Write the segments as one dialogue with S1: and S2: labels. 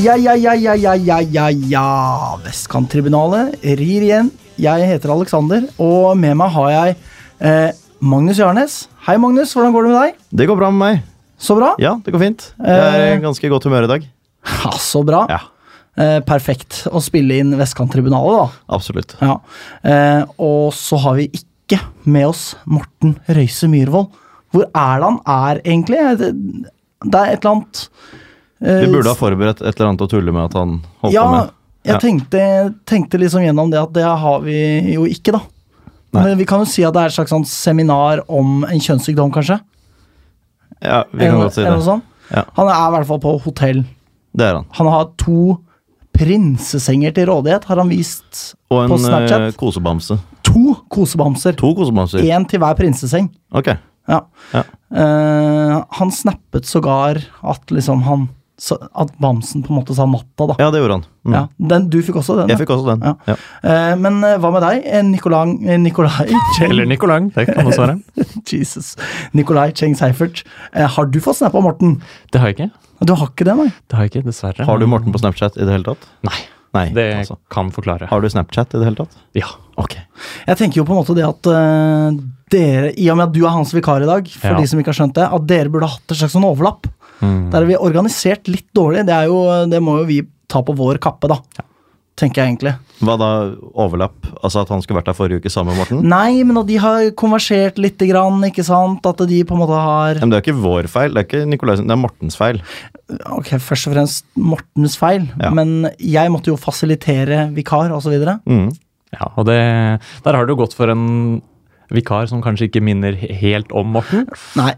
S1: Ja, ja, ja, ja, ja, ja, ja, ja. Vestkanttribunalet rir igjen. Jeg heter Alexander, og med meg har jeg eh, Magnus Jarnes. Hei, Magnus. Hvordan går det med deg?
S2: Det går bra med meg.
S1: Så bra?
S2: Ja, det går fint. Jeg er
S1: Eh.
S2: i ganske godt humør i dag.
S1: Ha, så bra.
S2: Ja,
S1: Eh, perfekt å spille inn Vestkanttribunalet,
S2: absolutt.
S1: da. Ja. Eh, og så har vi ikke med oss Morten Røise Myhrvold. Hvor er det han er, egentlig? Det, det er et eller annet eh,
S2: Vi burde ha forberedt et eller annet å tulle med at han holdt
S1: Ja,
S2: på med.
S1: jeg
S2: Ja.
S1: Tenkte, tenkte liksom gjennom det at det har vi jo ikke, da.
S2: Nei.
S1: Men vi kan jo si at det er et slags sånn seminar om en kjønnssykdom, kanskje?
S2: Ja, vi kan
S1: Eller-
S2: godt si
S1: eller noe
S2: det.
S1: sånt.
S2: Ja.
S1: Han er i hvert fall på hotell.
S2: Det er han.
S1: Han har to prinsesenger til rådighet, har han vist
S2: Og
S1: På
S2: en
S1: Snapchat.
S2: eh, kosebamse.
S1: to kosebamser.
S2: To kosebamser.
S1: Én til hver prinseseng.
S2: Ok.
S1: Ja.
S2: Ja.
S1: Eh, han snappet sågar at liksom han så- At bamsen på en måte sa natta, da.
S2: Ja, det gjorde han. Mm.
S1: Ja. Den, du fikk også den? ja.
S2: Jeg fikk også den.
S1: Ja.
S2: Ja.
S1: Eh, Men eh, hva med deg, eh, Nikolai, eh, Nikolai Cheng
S3: Eller Nicolang, det kan man svare.
S1: Jesus. Nikolai Cheng Seifert. Eh, Har du fått snap av Morten?
S3: Det har jeg ikke.
S1: Du har ikke det, nei?
S3: Det har jeg ikke, dessverre.
S2: Har du Morten på Snapchat i det hele tatt?
S3: Nei.
S2: Nei.
S3: Det
S2: altså.
S3: kan forklare.
S2: Har du Snapchat i det hele tatt?
S3: Ja.
S2: Ok.
S1: Jeg tenker jo på en måte det at eh, dere, i og med at du er hans vikar i dag, for
S3: Ja. Mm.
S1: de som ikke har skjønt det, at dere burde hatt et slags sånn overlapp. Der er vi organisert litt dårlig. Det, er jo, det må jo vi ta på vår kappe, da. Tenker jeg egentlig.
S2: Hva da? Overlapp? Altså at han skulle vært der forrige uke sammen med Morten?
S1: Nei, men at de har konversert lite grann, ikke sant? At de på en måte har
S2: Men det er ikke vår feil, det er ikke Nikolai sin, det er Mortens feil.
S1: Ok, først og fremst Mortens feil,
S2: Ja.
S1: men jeg måtte jo fasilitere vikar osv.
S2: Mm.
S3: ja og det, der har du gått for en vikar som kanskje ikke minner he- helt om Morten.
S1: Nei.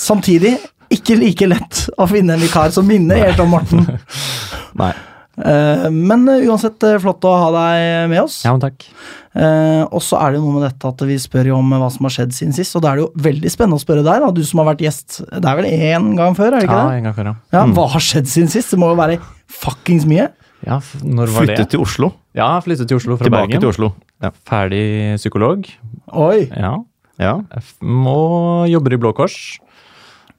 S1: Samtidig ikke like lett å finne en vikar som minner helt om Morten.
S2: Nei.
S1: Eh, men eh, uansett eh, flott å ha deg med oss.
S3: Ja, men takk.
S1: Eh, og så er det jo noe med dette at vi spør jo om eh, hva som har skjedd siden sist, og da er det jo veldig spennende å spørre deg, da, du som har vært gjest. Det er vel én gang før, er det ikke
S3: Ja, Mm.
S1: det?
S3: en gang før, ja.
S1: Ja, Hva har skjedd siden sist? Det må jo være fuckings mye.
S3: ja f- når var
S2: Flyttet
S3: det?
S2: til Oslo.
S3: Ja, flyttet til Oslo fra
S2: Tilbake
S3: Bergen.
S2: til Oslo. Ja.
S3: Ferdig psykolog.
S1: Oi.
S3: Ja.
S2: ja.
S3: Jeg f- må jobber i Blå Kors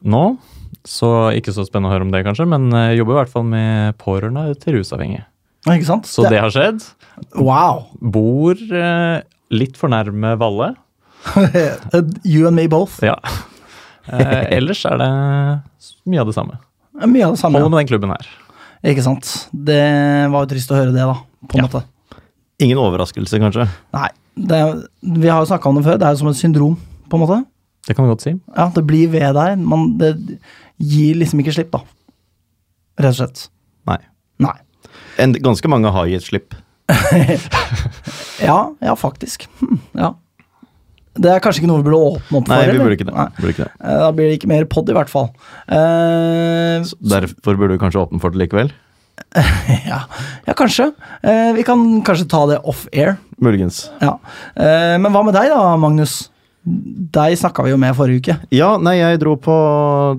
S3: nå. Så ikke så spennende å høre om det, kanskje, men eh, jobber i hvert fall med pårørende til rusavhengige.
S1: Ikke sant?
S3: Så det har skjedd.
S1: Wow.
S3: Bor eh, litt for nærme Valle.
S1: you and me both.
S3: Ja. Eh, ellers er det s- mye av det samme.
S1: Det er Mye av det samme.
S3: Holder med den klubben her.
S1: Ikke sant. Det var jo trist å høre det, da. På en måte.
S2: Ingen overraskelse, kanskje.
S1: Nei. Det, er- vi har jo snakka om det før. Det er jo som et syndrom, på en måte.
S3: Det kan vi godt si.
S1: Ja, Det blir ved deg. Man det gir liksom ikke slipp, da. Rett og slett.
S2: Nei.
S1: Nei.
S2: En, ganske mange har gitt slipp.
S1: Ja, ja, faktisk. Hm, ja. Det er kanskje ikke noe vi burde åpne opp for?
S2: Nei, vi
S1: eller?
S2: burde ikke det.
S1: Nei.
S2: Burde ikke det.
S1: Eh, Da blir det ikke mer pod, i hvert fall. Eh,
S2: Så Derfor burde du kanskje åpne for det likevel.
S1: ja. ja, kanskje. Eh, vi kan kanskje ta det off air.
S2: Muligens.
S1: Ja. Eh, men hva med deg da, Magnus? Deg snakka vi jo med forrige uke.
S2: Ja, nei, jeg dro på,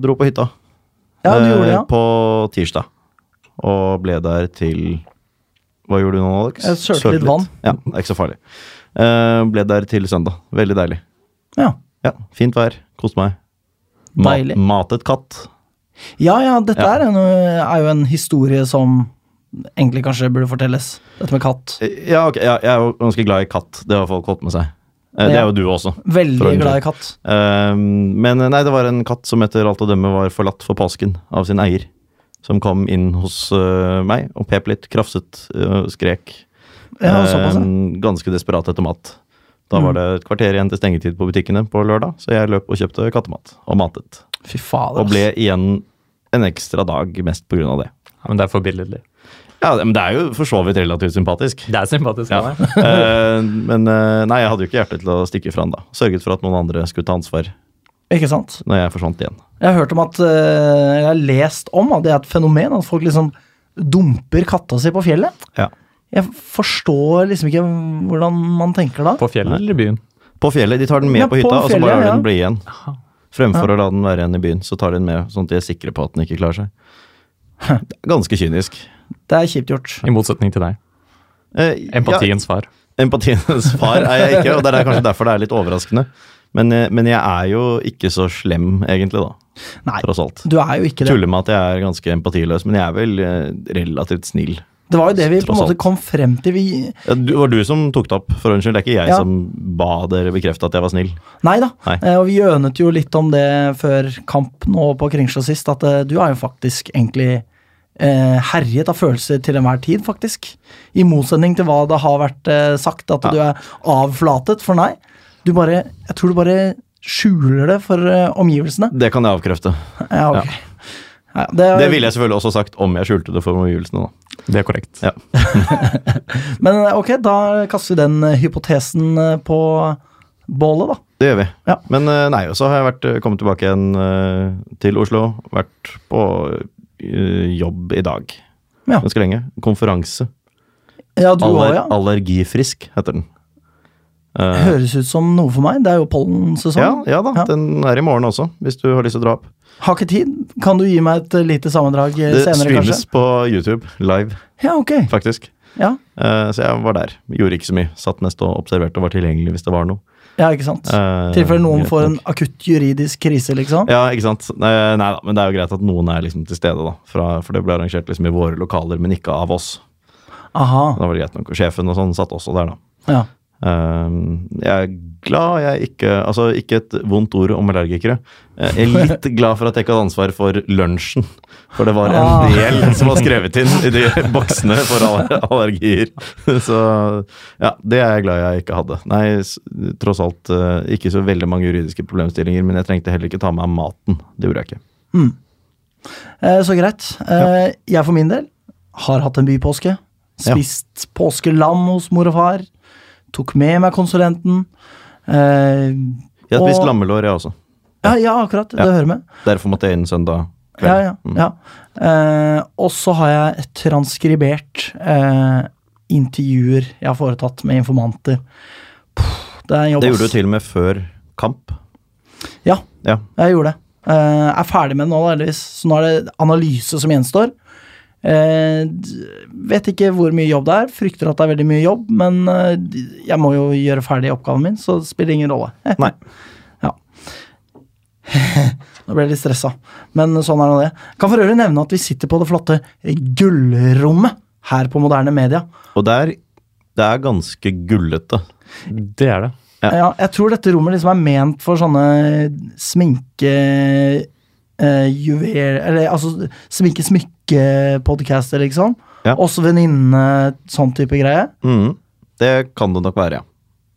S2: dro på hytta.
S1: Ja, du
S2: eh,
S1: gjorde det, ja.
S2: På tirsdag. Og ble der til Hva gjorde du nå, Alex?
S1: Jeg sølte
S2: Sølte
S1: litt vann.
S2: Ja, det er ikke så farlig. Eh, ble der til søndag. Veldig deilig.
S1: Ja,
S2: Ja, Fint vær. Koste meg. Ma-
S1: Deilig.
S2: Matet katt.
S1: ja, ja dette
S2: Ja.
S1: Er, en, eh, er jo en historie som egentlig kanskje burde fortelles. Dette med katt.
S2: Eh, Ja, ok, ja, jeg er jo ganske glad i katt. Det har folk holdt med seg. Eh, Det
S1: Ja.
S2: er jo du også. For
S1: Veldig
S2: en
S1: glad i katt.
S2: Ehm, men nei, det var en katt som etter alt å dømme var forlatt for påsken av sin eier. Som kom inn hos eh, meg og pep litt, krafset eh, og skrek.
S1: Ja, såpass, ja.
S2: Ehm, ganske desperat etter mat. Da var det et kvarter igjen til stengetid på butikkene på lørdag, så jeg løp og kjøpte kattemat og matet.
S1: Fy fader.
S2: Og
S1: ass.
S2: ble igjen en ekstra dag mest pga. det.
S3: Ja, men det er forbilledlig.
S2: Ja, det- men det er jo for så vidt relativt sympatisk.
S3: Det er sympatisk.
S2: Ja.
S3: det.
S2: Eh, men eh, nei, jeg hadde jo ikke hjerte til å stikke fra han da. Sørget for at noen andre skulle ta ansvar
S1: Ikke sant?
S2: når jeg forsvant igjen.
S1: Jeg har hørt om at eh, Jeg har lest om at det er et fenomen at folk liksom dumper katta si på fjellet.
S2: Ja.
S1: Jeg forstår liksom ikke hvordan man tenker da.
S3: På fjellet eller i byen?
S2: På fjellet. De tar den med
S1: Ja,
S2: på
S1: på
S2: hytta, og så
S1: fjellet,
S2: bare lar de
S1: ja.
S2: den bli igjen. Fremfor å la den være igjen i byen, så tar de den med, sånn at de er sikre på at den ikke klarer seg. Det er Ganske kynisk.
S1: Det er kjipt gjort.
S3: I motsetning til deg.
S2: Eh,
S3: Empatiens far.
S2: Ja, empatiens far er jeg ikke, og det er kanskje derfor det er litt overraskende. Men, eh, men jeg er jo ikke så slem, egentlig, da.
S1: Nei.
S2: tross alt.
S1: Du er jo ikke det.
S2: Tuller med at jeg er ganske empatiløs, men jeg er vel eh, relativt snill.
S1: Det var jo det vi på en
S2: Tross
S1: måte
S2: alt.
S1: kom frem til. Vi,
S2: Ja, du- Det var du som tok det opp, for unnskyld. Det er ikke jeg
S1: Ja.
S2: som ba dere bekrefte at jeg var snill.
S1: nei da.
S2: Nei.
S1: Eh, Og vi ønet jo litt om det før kamp nå på Kringsjå sist, at eh, du er jo faktisk egentlig eh, herjet av følelser til enhver tid, faktisk. I motsetning til hva det har vært eh, sagt, at
S2: Ja.
S1: du er avflatet. For nei, du bare Jeg tror du bare skjuler det for eh, omgivelsene.
S2: Det kan jeg avkrefte.
S1: Ja, ok.
S2: Ja.
S1: Ja,
S2: Det ville jeg selvfølgelig også sagt om jeg skjulte det for omgivelsene. da.
S3: Det er korrekt.
S2: Ja.
S1: Men eh, ok, da kaster vi den eh, hypotesen eh, på bålet, da.
S2: Det gjør vi.
S1: Ja.
S2: Men eh, nei, og så har jeg vært, eh, kommet tilbake igjen eh, til Oslo. Vært på eh, jobb i dag.
S1: Ja.
S2: Ganske lenge. Konferanse.
S1: Ja, du òg,
S2: Aller,
S1: ja.
S2: Allergifrisk heter den. Eh,
S1: Høres ut som noe for meg. Det er jo
S2: ja,
S1: pollensesong.
S2: ja da,
S1: Ja.
S2: den er i morgen også, hvis du har lyst til å dra opp.
S1: Har ikke tid. Kan du gi meg et eh, lite sammendrag eh,
S2: Det
S1: senere,
S2: streames
S1: kanskje?
S2: på YouTube live,
S1: Ja, ok.
S2: faktisk.
S1: Ja,
S2: Eh, så jeg var der. Gjorde ikke så mye. Satt mest og observerte og var tilgjengelig hvis det var noe.
S1: ja ikke sant.
S2: Uh,
S1: I tilfelle noen får en akutt juridisk krise, liksom.
S2: Ja, ikke sant. Nei, nei da, men det er jo greit at noen er liksom til stede, da. Fra, for det ble arrangert liksom i våre lokaler, men ikke av oss.
S1: Aha.
S2: Da var det greit nok. Og sjefen og sånn satt også der, da.
S1: Ja.
S2: Ehm, jeg er glad jeg ikke Altså, ikke et vondt ord om allergikere. Jeg er litt glad for at jeg ikke hadde ansvar for lunsjen. For det var
S1: Ah.
S2: en del som var skrevet inn i de boksene for aller- allergier. Så ja, det er jeg glad jeg ikke hadde. Nei, s- tross alt eh, ikke så veldig mange juridiske problemstillinger, men jeg trengte heller ikke ta med meg maten. Det gjorde jeg ikke.
S1: Eh, så greit. Eh, jeg for min del har hatt en bypåske. Spist påskelam hos mor og far. Tok med meg konsulenten. Eh,
S2: Jeg har spist
S1: og-
S2: lammelår, jeg også.
S1: Ja, ja, akkurat.
S2: Ja.
S1: Det hører med.
S2: Derfor måtte jeg inn søndag
S1: Ja,
S2: kveld. Mm.
S1: ja, ja. Eh, og så har jeg transkribert eh, intervjuer jeg har foretatt med informanter. Puh, det er en jobb,
S2: Det gjorde du
S1: ass.
S2: til og med før kamp.
S1: Ja,
S2: Ja.
S1: jeg gjorde det. Eh, er ferdig med det nå, da, heldigvis. Så nå er det analyse som gjenstår. Eh, d- vet ikke hvor mye jobb det er. Frykter at det er veldig mye jobb, men eh, d- jeg må jo gjøre ferdig oppgaven min, så det spiller ingen rolle.
S2: Nei.
S1: Ja. Nå ble jeg litt stressa, men sånn er nå det. Kan for øvrig nevne at vi sitter på det flotte gullrommet her på Moderne Media.
S2: Og der Det er ganske gullete.
S3: Det er det.
S2: Ja.
S1: Ja, jeg tror dette rommet liksom er ment for sånne sminke... eh, juvel... Eller altså sminke-smykke-podcaster, liksom.
S2: Ja.
S1: Oss venninnene, sånn type greie.
S2: Mhm. Det kan det nok være, ja.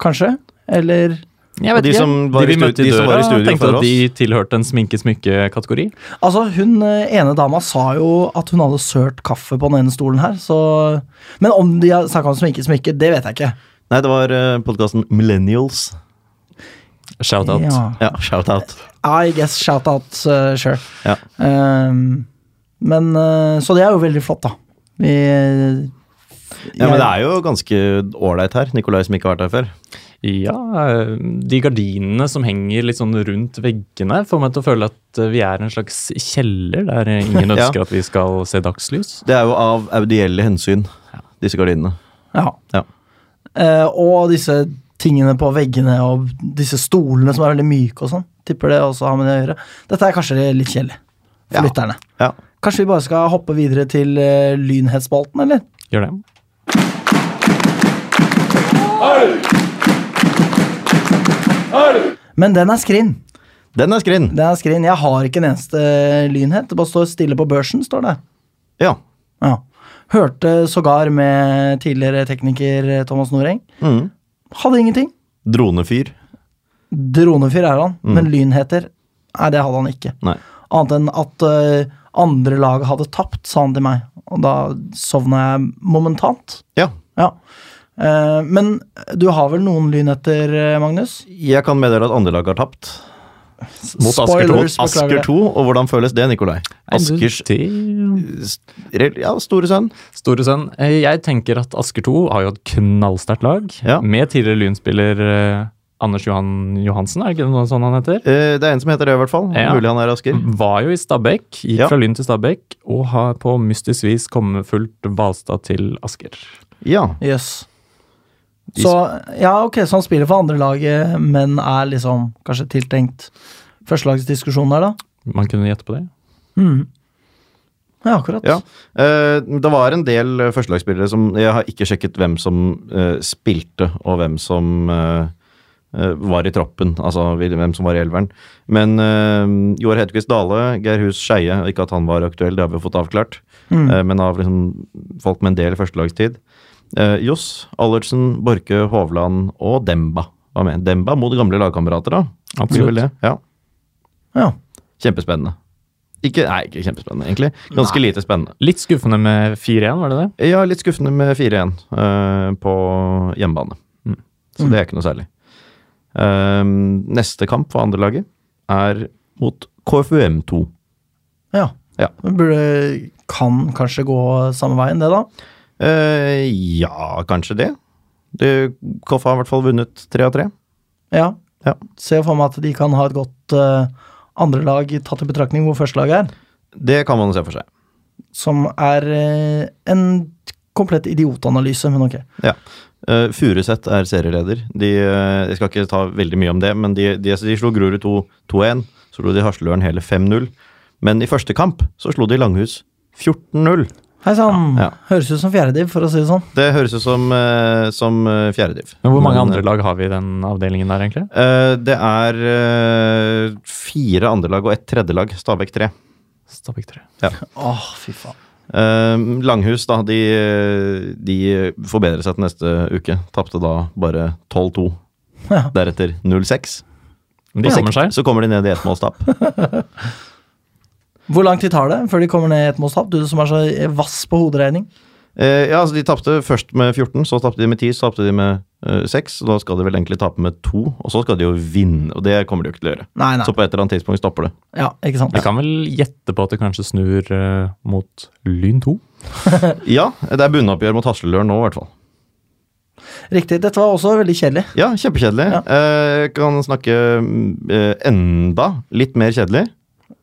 S1: Kanskje? Eller
S3: Jeg
S2: Og de som var
S3: de vi
S2: i stu-
S3: møtte i
S2: de som
S3: døra,
S2: var i studio
S3: tenkte
S2: for
S3: at de tilhørte en sminke-smykke-kategori.
S1: Altså, hun eh, ene dama sa jo at hun hadde sølt kaffe på den ene stolen her, så Men om de har snakka om sminke, sminke, det vet jeg ikke.
S2: Nei, det var uh, podkasten Millennials.
S3: Shout-out.
S1: Ja.
S2: Ja, shout-out.
S1: I guess shout out, eh, sure.
S2: Ja.
S1: Ehm, men eh, Så det er jo veldig flott, da. Vi
S2: Ja, men det er jo ganske ålreit her. Nikolai som ikke har vært her før.
S3: Ja, eh, de gardinene som henger litt sånn rundt veggene, får meg til å føle at eh, vi er en slags kjeller der ingen
S2: Ja.
S3: ønsker at vi skal se dagslys.
S2: Det er jo av audielle hensyn, disse gardinene.
S1: ja.
S2: Ja.
S1: Eh, og disse tingene på veggene og disse stolene som er veldig myke og sånn. Tipper det også har med det å gjøre. Dette er kanskje litt kjedelig for
S2: Ja.
S1: lytterne.
S2: Ja.
S1: Kanskje vi bare skal hoppe videre til uh, lynhetsspalten, eller?
S3: Gjør det.
S1: Men den er skrinn.
S2: Den er skrinn.
S1: Den er skrinn. Jeg har ikke en eneste eh, lynhet. Det bare står stille på børsen, står det.
S2: Ja.
S1: Ja. Hørte sågar med tidligere tekniker eh, Thomas Noreng.
S2: Mhm.
S1: Hadde ingenting.
S2: Dronefyr.
S1: Dronefyr er han, men lynheter Nei, det hadde han ikke.
S2: Nei.
S1: Annet enn at eh, andre lag hadde tapt, sa han til meg. Og da sovna jeg momentant.
S2: Ja.
S1: Ja. Eh, men du har vel noen lynheter, eh, Magnus?
S2: Jeg kan meddele at andre lag har tapt. Mot Asker 2.
S1: Spoilers, beklager
S2: Asker
S1: det.
S2: 2. Og hvordan føles det, Nikolai? Askers
S3: Det-
S2: re- ja, store sønn.
S3: Store sønn, eh, jeg tenker at Asker 2 har jo et knallsterkt lag.
S2: Ja.
S3: Med tidligere Lynspiller eh, Anders Johan Johansen, er det ikke noe sånn han heter?
S2: Eh, det er en som heter det, i hvert fall.
S3: Ja.
S2: Mulig han er Asker.
S3: Var jo i Stabekk, gikk
S2: Ja.
S3: fra Lyn til Stabekk, og har på mystisk vis kommet fullt Hvalstad til Asker.
S2: Ja.
S1: Jøss. Så ja, ok, så han spiller for andrelaget, men er liksom kanskje tiltenkt førstelagsdiskusjonen der, da?
S3: Man kunne gjette på det.
S1: Mm. Ja, akkurat.
S2: Ja. Eh, det var en del eh, førstelagsspillere som Jeg har ikke sjekket hvem som eh, spilte, og hvem som eh, eh, var i troppen. Altså hvil- hvem som var i elveren. Men eh, Joar Hedquist Dale, Geir Hus Skeie Ikke at han var aktuell, det har vi fått avklart.
S1: Mm.
S2: eh, men av liksom folk med en del førstelagstid. Eh, Johs, Allertsen, Borke, Hovland og Demba var med. Demba mot gamle lagkamerater, da. Blir vel det. Ja.
S1: Ja.
S2: Kjempespennende. Ikke, nei, ikke kjempespennende, egentlig. Ganske lite spennende.
S3: Litt skuffende med 4-1, var det det?
S2: Ja, litt skuffende med 4-1 eh, på hjemmebane. Mm. Så det er ikke noe særlig. Ehm, neste kamp for andrelaget er mot KFUM2.
S1: ja.
S2: Ja.
S1: Det Burde, kan kanskje gå samme veien, det, da.
S2: Eh, ja, kanskje det. det. KFA har i hvert fall vunnet tre av tre.
S1: Ja.
S2: Ja.
S1: Ser jo for meg at de kan ha et godt uh, andrelag tatt i betraktning hvor førstelaget er.
S2: Det kan man se for seg.
S1: Som er eh, en komplett idiotanalyse, men ok.
S2: Ja. Eh, Furuset er serieleder. De, eh, jeg skal ikke ta veldig mye om det, men de, de, de slo Grorud 2 2-1. Så slo de Hasløren hele 5-0. Men i første kamp så slo de Langhus 14-0.
S1: Hei sann!
S2: Ja, ja.
S1: Høres ut som fjerdediv, for å si det sånn.
S2: Det høres ut som, eh, som eh, fjerdediv.
S3: Men hvor mange
S2: Men,
S3: andre lag har vi i den avdelingen der, egentlig?
S2: eh, det er eh, fire andrelag og ett tredjelag. Stabæk tre.
S3: Stabæk 3.
S1: Åh, fy faen.
S2: Eh, Langhus da, de, eh, de forbedrer seg til neste uke. Tapte da bare 12-2.
S1: Ja.
S2: Deretter 0-6.
S3: De
S2: På
S3: kommer
S2: sikt
S3: seg.
S2: Så kommer de ned i ettmålstap.
S1: Hvor lang tid tar det før de kommer ned i et målstap? Du som er så eh, vass på hoderegning.
S2: Eh, ja, altså De tapte først med 14, så tapte de med 10, så tapte de med eh, 6. og Da skal de vel egentlig tape med 2, og så skal de jo vinne. Og det kommer de jo ikke til å gjøre.
S1: Nei, nei.
S2: Så på et eller annet tidspunkt stopper det.
S1: Ja, ikke sant.
S3: Vi kan vel gjette på at det kanskje snur eh, mot Lyn 2?
S2: Ja, det er bunnoppgjør mot Hasleløren nå, i hvert fall.
S1: Riktig. Dette var også veldig kjedelig.
S2: Ja, kjempekjedelig.
S1: Ja.
S2: Eh, kan snakke mm, eh, enda litt mer kjedelig.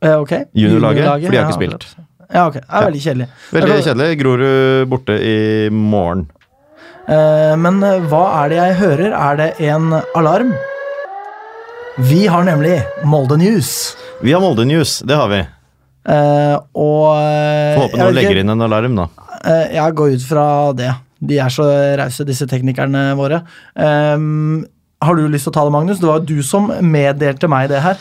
S1: Eh, ok.
S2: Juniorlaget, for de har ikke
S1: ja,
S2: spilt.
S1: akkurat. Ja, ok. Det er veldig kjedelig. Eh,
S2: Veldig
S1: Jeg kan-
S2: kjedelig. Grorud borte i morgen.
S1: Eh, men eh, hva er det jeg hører? Er det en alarm? Vi har nemlig Molde News.
S2: Vi har Molde News, det har vi.
S1: Eh, og eh,
S2: Får håpe
S1: jeg
S2: noen
S1: vet ikke-
S2: legger inn en alarm, da.
S1: Eh, Jeg går ut fra det. De er så rause, disse teknikerne våre. Ehm, har du lyst til å ta det, Magnus? Det var jo du som meddelte meg det her.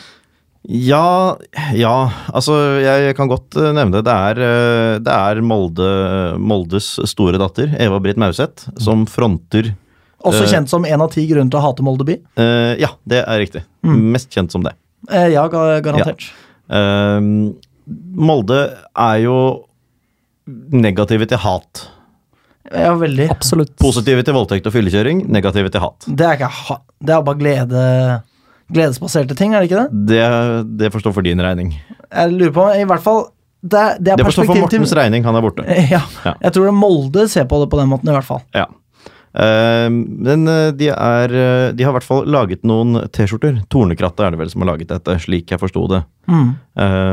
S2: Ja, ja Altså, jeg kan godt eh, nevne det. Det er, eh, det er Molde, Moldes store datter, Eva-Britt Mauseth, som fronter
S1: Også
S2: Eh.
S1: kjent som en av ti grunner til å hate Molde by.
S2: eh, Ja, det er riktig.
S1: Mm.
S2: Mest kjent som det.
S1: Eh, ja, ga- garantert.
S2: Eh, Molde er jo negative til hat.
S1: Ja, veldig.
S3: Absolutt.
S2: Positive til voldtekt og fyllekjøring, negative til hat.
S1: Det er, ikke, ha- det er bare glede, gledesbaserte ting, er det ikke det?
S2: Det, det får stå for din regning.
S1: Jeg lurer på, i hvert fall Det, er- det er
S2: Det får stå for
S1: perspektiv til
S2: Mortens regning, han er borte.
S1: ja,
S2: Ja.
S1: Jeg tror det er Molde ser på det på den måten, i hvert fall.
S2: Ja. Eh, men eh, de, er, eh, de har i hvert fall laget noen T-skjorter. Tornekrattet er det vel som har laget dette, slik jeg forsto det.
S1: Mm.
S2: Eh,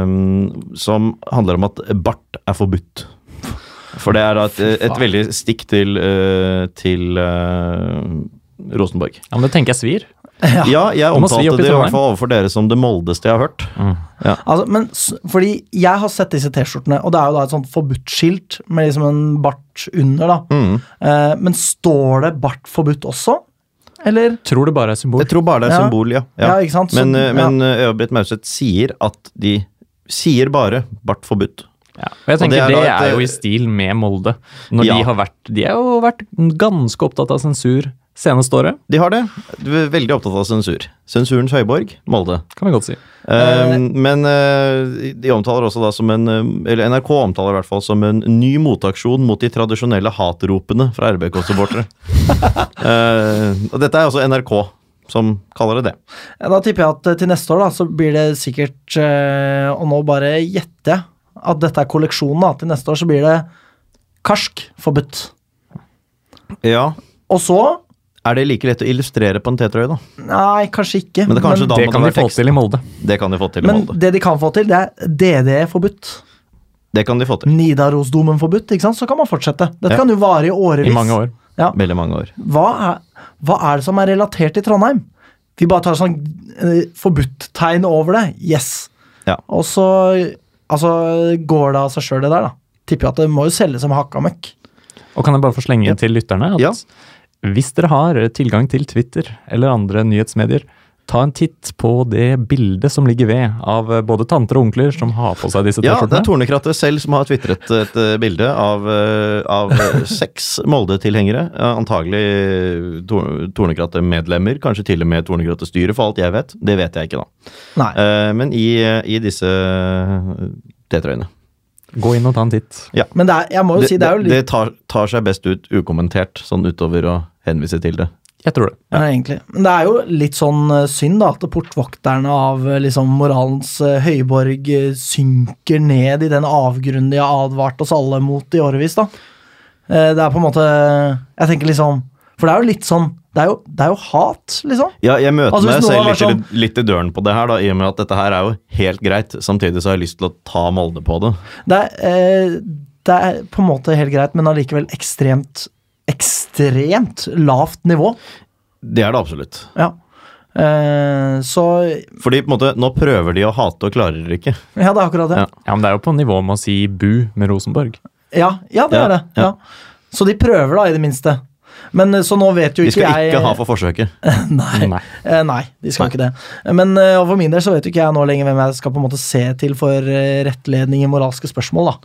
S2: som handler om at bart er forbudt. For det er da et, et veldig stikk til, eh, til eh, Rosenborg.
S3: Ja, men det tenker jeg svir.
S1: Ah,
S2: Ja, jeg
S3: Om å svi
S2: omtalte
S3: opp i
S2: det i
S3: Trondheim.
S2: hvert fall overfor dere som det moldeste jeg har hørt.
S1: Altså, men, s- fordi jeg har sett disse T-skjortene, og det er jo da et sånt forbudt skilt med liksom en bart under, da.
S2: Mm.
S1: Eh, men står det bart forbudt også? Eller?
S3: Tror det bare er symbol.
S2: Jeg tror bare det er
S1: Ja.
S2: symbol, ja.
S1: Ja, ikke sant? Så-
S2: Men, eh,
S1: ja.
S2: men eh, Øya-Britt Mauseth sier at de sier bare bart forbudt.
S3: Ja. Og jeg
S2: Og
S3: tenker det
S2: det
S3: er,
S2: er da et,
S3: jo i stil med Molde. Når
S2: Ja.
S3: de har vært De har jo vært ganske opptatt av sensur seneste året,
S2: De har det. Du er veldig opptatt av sensur. Sensurens høyborg, Molde.
S3: kan vi godt si.
S2: Eh, men eh, de omtaler også da som en eh, Eller NRK omtaler i hvert fall som en ny motaksjon mot de tradisjonelle hatropene fra RBK-supportere. Eh, og dette er altså NRK som kaller det det.
S1: Ja, Da tipper jeg at eh, til neste år da, så blir det sikkert eh, Og nå bare gjetter jeg at dette er kolleksjonen. da. Til neste år så blir det karsk forbudt.
S2: Ja.
S1: Og så
S2: Er det like lett å illustrere på en T-trøye, da?
S1: Nei, kanskje ikke.
S2: Men det er kanskje da
S3: Det
S2: må
S3: kan
S2: det
S3: de
S2: være
S3: få
S2: tekst.
S3: til i Molde.
S2: Det kan de få til i
S1: men
S2: Molde.
S1: det de kan få til, det er DDE forbudt.
S2: Det kan de få til.
S1: Nidarosdomen forbudt. ikke sant? Så kan man fortsette. Dette
S2: Ja.
S1: kan jo vare i årevis.
S3: I mange år.
S1: Ja.
S2: Veldig mange år.
S1: Hva, er, hva er det som er relatert til Trondheim? Vi bare tar sånn eh, forbudt-tegn over det. Yes.
S2: Ja.
S1: Og så altså, går det av seg sjøl, det der. da. Tipper jo at det må jo selge som hakka møkk.
S3: Og kan jeg bare få slenge inn til lytterne at
S2: Ja.
S3: hvis dere har tilgang til Twitter eller andre nyhetsmedier, ta en titt på det bildet som ligger ved av både tanter og onkler som har på seg disse
S2: Ja, det er
S3: T-skjortene.
S2: Tornekrattet selv som har tvitret et eh, bilde av, eh, av eh, seks Molde-tilhengere. eh, Antagelig Tor- Tornekrattet-medlemmer, kanskje til og med Tornekrattet-styret, for alt jeg vet. Det vet jeg ikke, da.
S1: Nei.
S2: Eh, Men i, eh, i disse eh, T-trøyene.
S3: Gå inn og ta en titt.
S1: Men det er, jeg må jo
S2: Det,
S1: si, det er jo
S2: det
S1: litt
S2: tar, tar seg best ut ukommentert, sånn utover å henvise til det.
S3: Jeg tror det.
S1: ja. Eh, egentlig. Men det er jo litt sånn eh, synd da, at portvokterne av eh, liksom, moralens eh, høyborg eh, synker ned i den avgrunnen de har advart oss alle mot i årevis. da. Eh, Det er på en måte Jeg tenker liksom For det er jo litt sånn Det er jo, det er jo hat, liksom.
S2: Ja, jeg møter
S1: Altså, hvis
S2: meg
S1: noen
S2: selv
S1: har
S2: litt,
S1: vært
S2: i- litt i døren på det her, da, i og med at dette her er jo helt greit. Samtidig så har jeg lyst til å ta Molde på det.
S1: Det er, eh, det er på en måte helt greit, men allikevel ekstremt ekstremt lavt nivå.
S2: Det er det absolutt.
S1: Ja. Eh, så
S2: Fordi på en måte, nå prøver de å hate og klarer det ikke.
S1: Ja, det er akkurat det.
S2: Ja.
S3: Ja, men det er jo på nivå med å si bu med Rosenborg.
S1: Ja, ja det
S2: Ja,
S1: er det. Ja.
S2: ja.
S1: Så de prøver, da, i det minste. Men eh, Så nå vet jo
S2: De
S1: ikke
S2: skal
S1: jeg
S2: ikke ha for forsøket.
S1: Nei.
S3: Mm, Nei.
S1: Eh, nei, de skal
S2: Nei.
S1: ikke det. Men eh, og for min del så vet jo ikke jeg nå lenger hvem jeg skal på en måte se til for eh, rettledning i moralske spørsmål. da.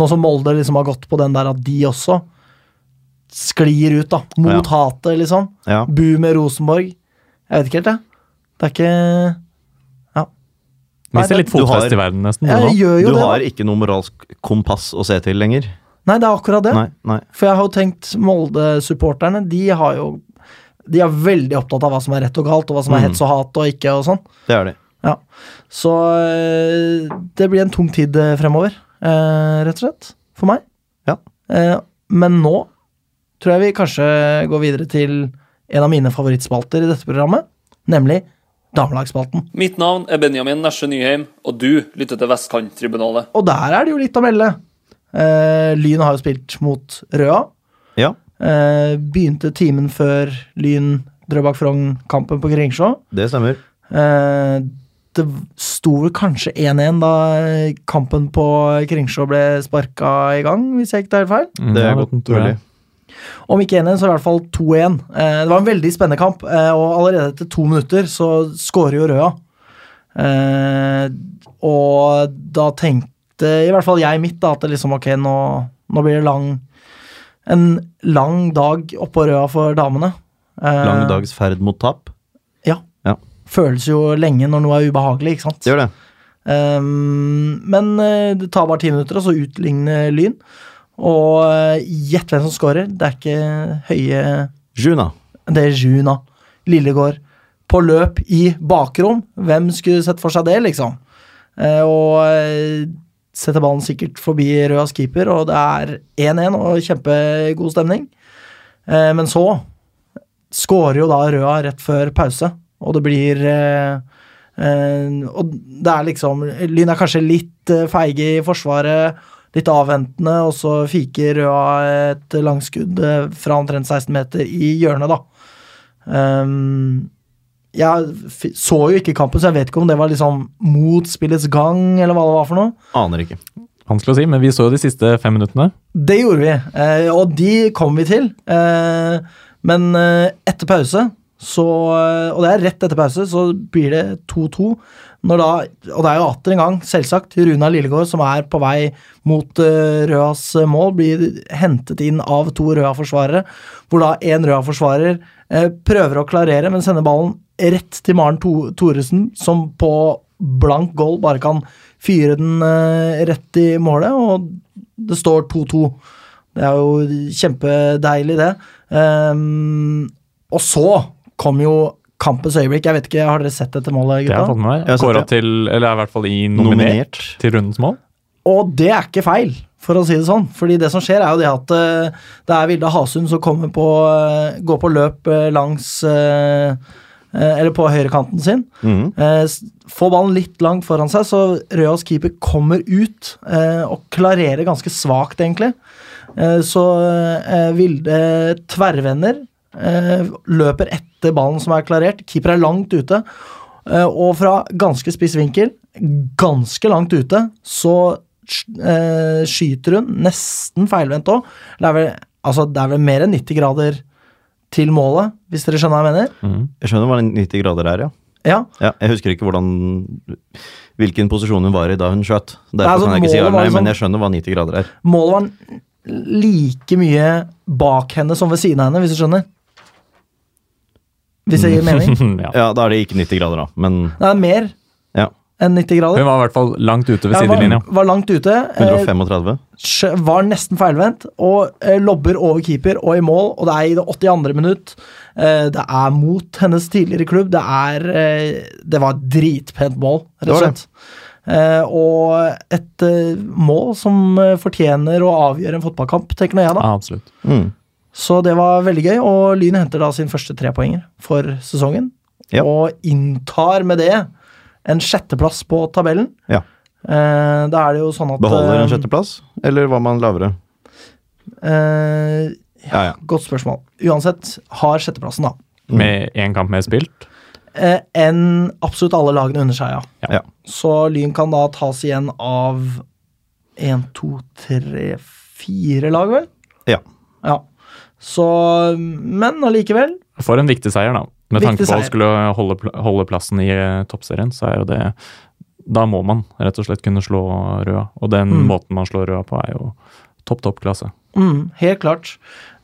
S1: Nå som Molde liksom har gått på den der at de også sklir ut, da. Mot
S2: Ja.
S1: hatet, liksom.
S2: Ja.
S1: Bu med Rosenborg. Jeg vet ikke helt, jeg. Det er ikke
S3: Mister litt
S2: Du har-
S3: fotfest i verden, nesten. du
S1: Jeg
S3: nå.
S1: gjør jo
S2: Du
S1: det.
S2: har
S1: da.
S2: ikke noe moralsk kompass å se til lenger.
S1: Nei, det er akkurat det.
S2: Nei, nei.
S1: For jeg har jo tenkt Molde-supporterne, de har jo De er veldig opptatt av hva som er rett og galt, og hva som er
S2: Mm.
S1: hets og hat og ikke og sånn.
S2: Det er de.
S1: Ja. Så øh, det blir en tung tid øh, fremover, øh, rett og slett, for meg.
S2: Ja.
S1: Eh, Men nå tror jeg vi kanskje går videre til en av mine favorittspalter i dette programmet, nemlig damelagsspalten.
S4: Mitt navn er Benjamin Nesje Nyheim, og du lytter til Vestkanttribunalet.
S1: Og der er det jo litt å melde. Eh, Lyn har jo spilt mot Røa.
S2: Ja.
S1: Eh, begynte timen før Lyn Drøbak-Frogn-kampen på Kringsjå.
S2: Det stemmer.
S1: Eh, det sto vel kanskje 1-1 da kampen på Kringsjå ble sparka i gang, hvis jeg ikke tar helt feil.
S3: Mm,
S2: Det
S3: ja,
S2: er godt
S3: tror jeg.
S2: mulig.
S1: Om ikke 1-1, så i hvert fall 2-1. Eh, det var en veldig spennende kamp, eh, og allerede etter to minutter så skårer jo Røa. Eh, og da tenkte i hvert fall jeg mitt da, at det liksom, ok, nå, nå blir det lang en lang dag oppå Røa for damene. Eh,
S2: Lang dags ferd mot tap.
S1: Ja.
S2: Ja.
S1: Føles jo lenge når noe er ubehagelig, ikke sant?
S2: Det gjør det.
S1: Ehm, men eh, det tar bare ti minutter, og så utligner Lyn. Og eh, gjett hvem som scorer. Det er ikke Høie
S2: Juna.
S1: Det er Juna. Lillegård. På løp i bakrom. Hvem skulle sett for seg det, liksom? Eh, og eh, setter ballen sikkert forbi Røas keeper, og det er 1-1 og kjempegod stemning. Eh, men så skårer jo da Røa rett før pause, og det blir eh, eh, Og det er liksom Lyn er kanskje litt eh, feige i forsvaret, litt avventende, og så fiker Røa et langskudd eh, fra omtrent 16 meter i hjørnet, da. Ehm, jeg f- så jo ikke kampen, så jeg vet ikke om det var liksom mot spillets gang, eller hva det var for noe.
S2: Aner ikke.
S3: Vanskelig å si, men vi så jo de siste fem minuttene.
S1: Det gjorde vi, eh, og de kom vi til. Eh, men eh, etter pause, så, og det er rett etter pause, så blir det 2-2. Når da, og det er jo atter en gang, selvsagt, Runa Lillegård, som er på vei mot eh, Røas mål, blir hentet inn av to Røa-forsvarere, hvor da én Røa-forsvarer eh, prøver å klarere, men sender ballen rett til Maren to Thoresen, som på blank goal bare kan fyre den eh, rett i målet, og det står 2-2. Det er jo kjempedeilig, det. Ehm, og så kom jo kampens øyeblikk. Jeg vet ikke, Har dere sett dette målet,
S3: Det har jeg
S1: gutta?
S3: fått med meg.
S2: Jeg har sett
S3: Kåra
S2: det.
S3: til, eller er i hvert fall i nominert
S2: Nominert.
S3: til rundens mål.
S1: Og det er ikke feil, for å si det sånn. Fordi det som skjer, er jo det at eh, det er Vilde Hasund som kommer på, eh, går på løp eh, langs eh, eh, Eller på høyrekanten sin.
S2: Mhm.
S1: Eh, s- får ballen litt langt foran seg, så Røas keeper kommer ut eh, og klarerer ganske svakt, egentlig. Eh, så eh, Vilde tverrvender, eh, løper etter ballen som er klarert. Keeper er langt ute. Eh, Og fra ganske spiss vinkel, ganske langt ute, så eh, skyter hun nesten feilvendt òg. Det, er vel- altså, det er vel mer enn 90 grader til målet, hvis dere skjønner hva jeg mener?
S2: Jeg skjønner hva 90 grader er, ja.
S1: Ja.
S2: ja. Jeg husker ikke hvordan, hvilken posisjon hun var i da hun skjøt. Derfor
S1: altså,
S2: kan jeg ikke si
S1: målet
S2: ja,
S1: var
S2: nei,
S1: jo sånn-
S2: men jeg skjønner hva 90 grader er.
S1: Målet var n- like mye bak henne som ved siden av henne, hvis du skjønner? Hvis det gir mening?
S3: ja.
S2: Ja, Da er det ikke 90 grader, da. Men
S1: Det er mer
S2: ja.
S1: enn 90
S3: Hun
S1: grader.
S3: var i hvert fall langt ute ved
S1: Ja,
S3: sidelinja.
S1: var, var langt ute. eh,
S2: 135.
S1: Sch- var nesten feilvendt og eh, lobber over keeper og i mål, og det er i det 82. minutt. Eh, Det er mot hennes tidligere klubb. Det er eh, Det var et dritpent mål, rett og
S2: Det var det.
S1: slett. Eh, Og et eh, mål som eh, fortjener å avgjøre en fotballkamp, tenker nå jeg, da.
S3: Ja, absolutt.
S2: Mm.
S1: Så det var veldig gøy, og Lyn henter da sin første trepoenger for sesongen.
S2: Ja.
S1: Og inntar med det en sjetteplass på tabellen.
S2: Ja.
S1: Eh, Da er det jo sånn at
S2: Beholder
S1: eh,
S2: en sjetteplass, eller var man lavere?
S1: eh,
S2: Ja, ja.
S1: Godt spørsmål. Uansett har sjetteplassen, da.
S3: Med én kamp mer spilt.
S1: Eh, enn absolutt alle lagene under seg, ja.
S2: Ja.
S1: Så Lyn kan da tas igjen av én, to, tre, fire lag, vel?
S2: Ja.
S1: ja. Så Men allikevel.
S3: For en viktig seier, da. Med
S1: Viktig
S3: tanke på å
S1: seier.
S3: skulle holde, pl- holde plassen i eh, toppserien, så er jo det Da må man rett og slett kunne slå Røa. Og den
S1: Mm.
S3: måten man slår Røa på, er jo topp, topp klasse.
S1: Mm, helt klart.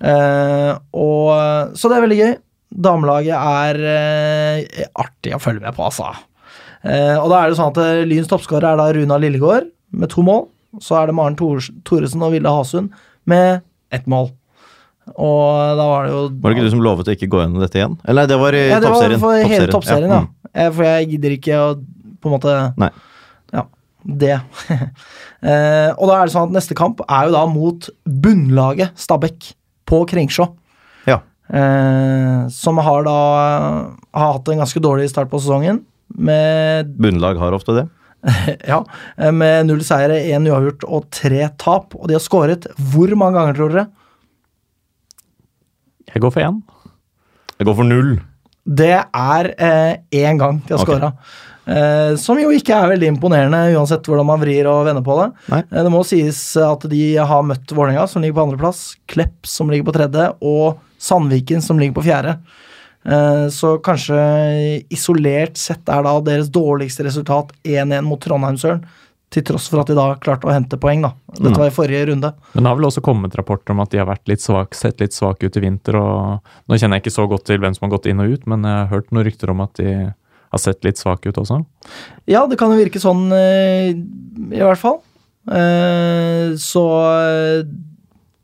S1: Eh, og Så det er veldig gøy. Damelaget er eh, artig å følge med på, altså. Eh, og da er det sånn at eh, Lyns toppskårer er da Runa Lillegård med to mål. Så er det Maren Thores- Thoresen og Vilde Hasund med ett mål. Og da var det jo
S2: Var det ikke du som lovet å ikke gå gjennom dette igjen? Eller nei, det var i
S1: ja, det var
S2: toppserien.
S1: for hele toppserien, ja.
S2: mm.
S1: Eh, For jeg gidder ikke å på en måte
S2: Nei.
S1: Ja, det. Eh, og da er det sånn at neste kamp er jo da mot bunnlaget Stabæk på Kringsjå.
S2: Ja.
S1: Eh, som har da har hatt en ganske dårlig start på sesongen. Med,
S2: Bunnlag har ofte det.
S1: ja, eh, med null seire, én uavgjort og tre tap. Og de har skåret hvor mange ganger, tror dere?
S3: Jeg går for én.
S2: Jeg går for null.
S1: Det er eh, én gang de har
S2: Ok.
S1: scora. Eh, som jo ikke er veldig imponerende, uansett hvordan man vrir og vender på det.
S2: Nei.
S1: Eh, det må sies at de har møtt Vålerenga, som ligger på andreplass, Klepp, som ligger på tredje, og Sandviken, som ligger på fjerde. Eh, så kanskje isolert sett er da deres dårligste resultat 1-1 mot Trondheimsølen, til tross for at de da klarte å hente poeng, da.
S2: Mm.
S1: Dette var i forrige runde.
S3: Men det har vel også kommet rapporter om at de har vært litt svak, sett litt svake ut i vinter. og Nå kjenner jeg ikke så godt til hvem som har gått inn og ut, men jeg har hørt noen rykter om at de har sett litt svake ut også.
S1: Ja, det kan jo virke sånn eh, i hvert fall. Eh, så eh,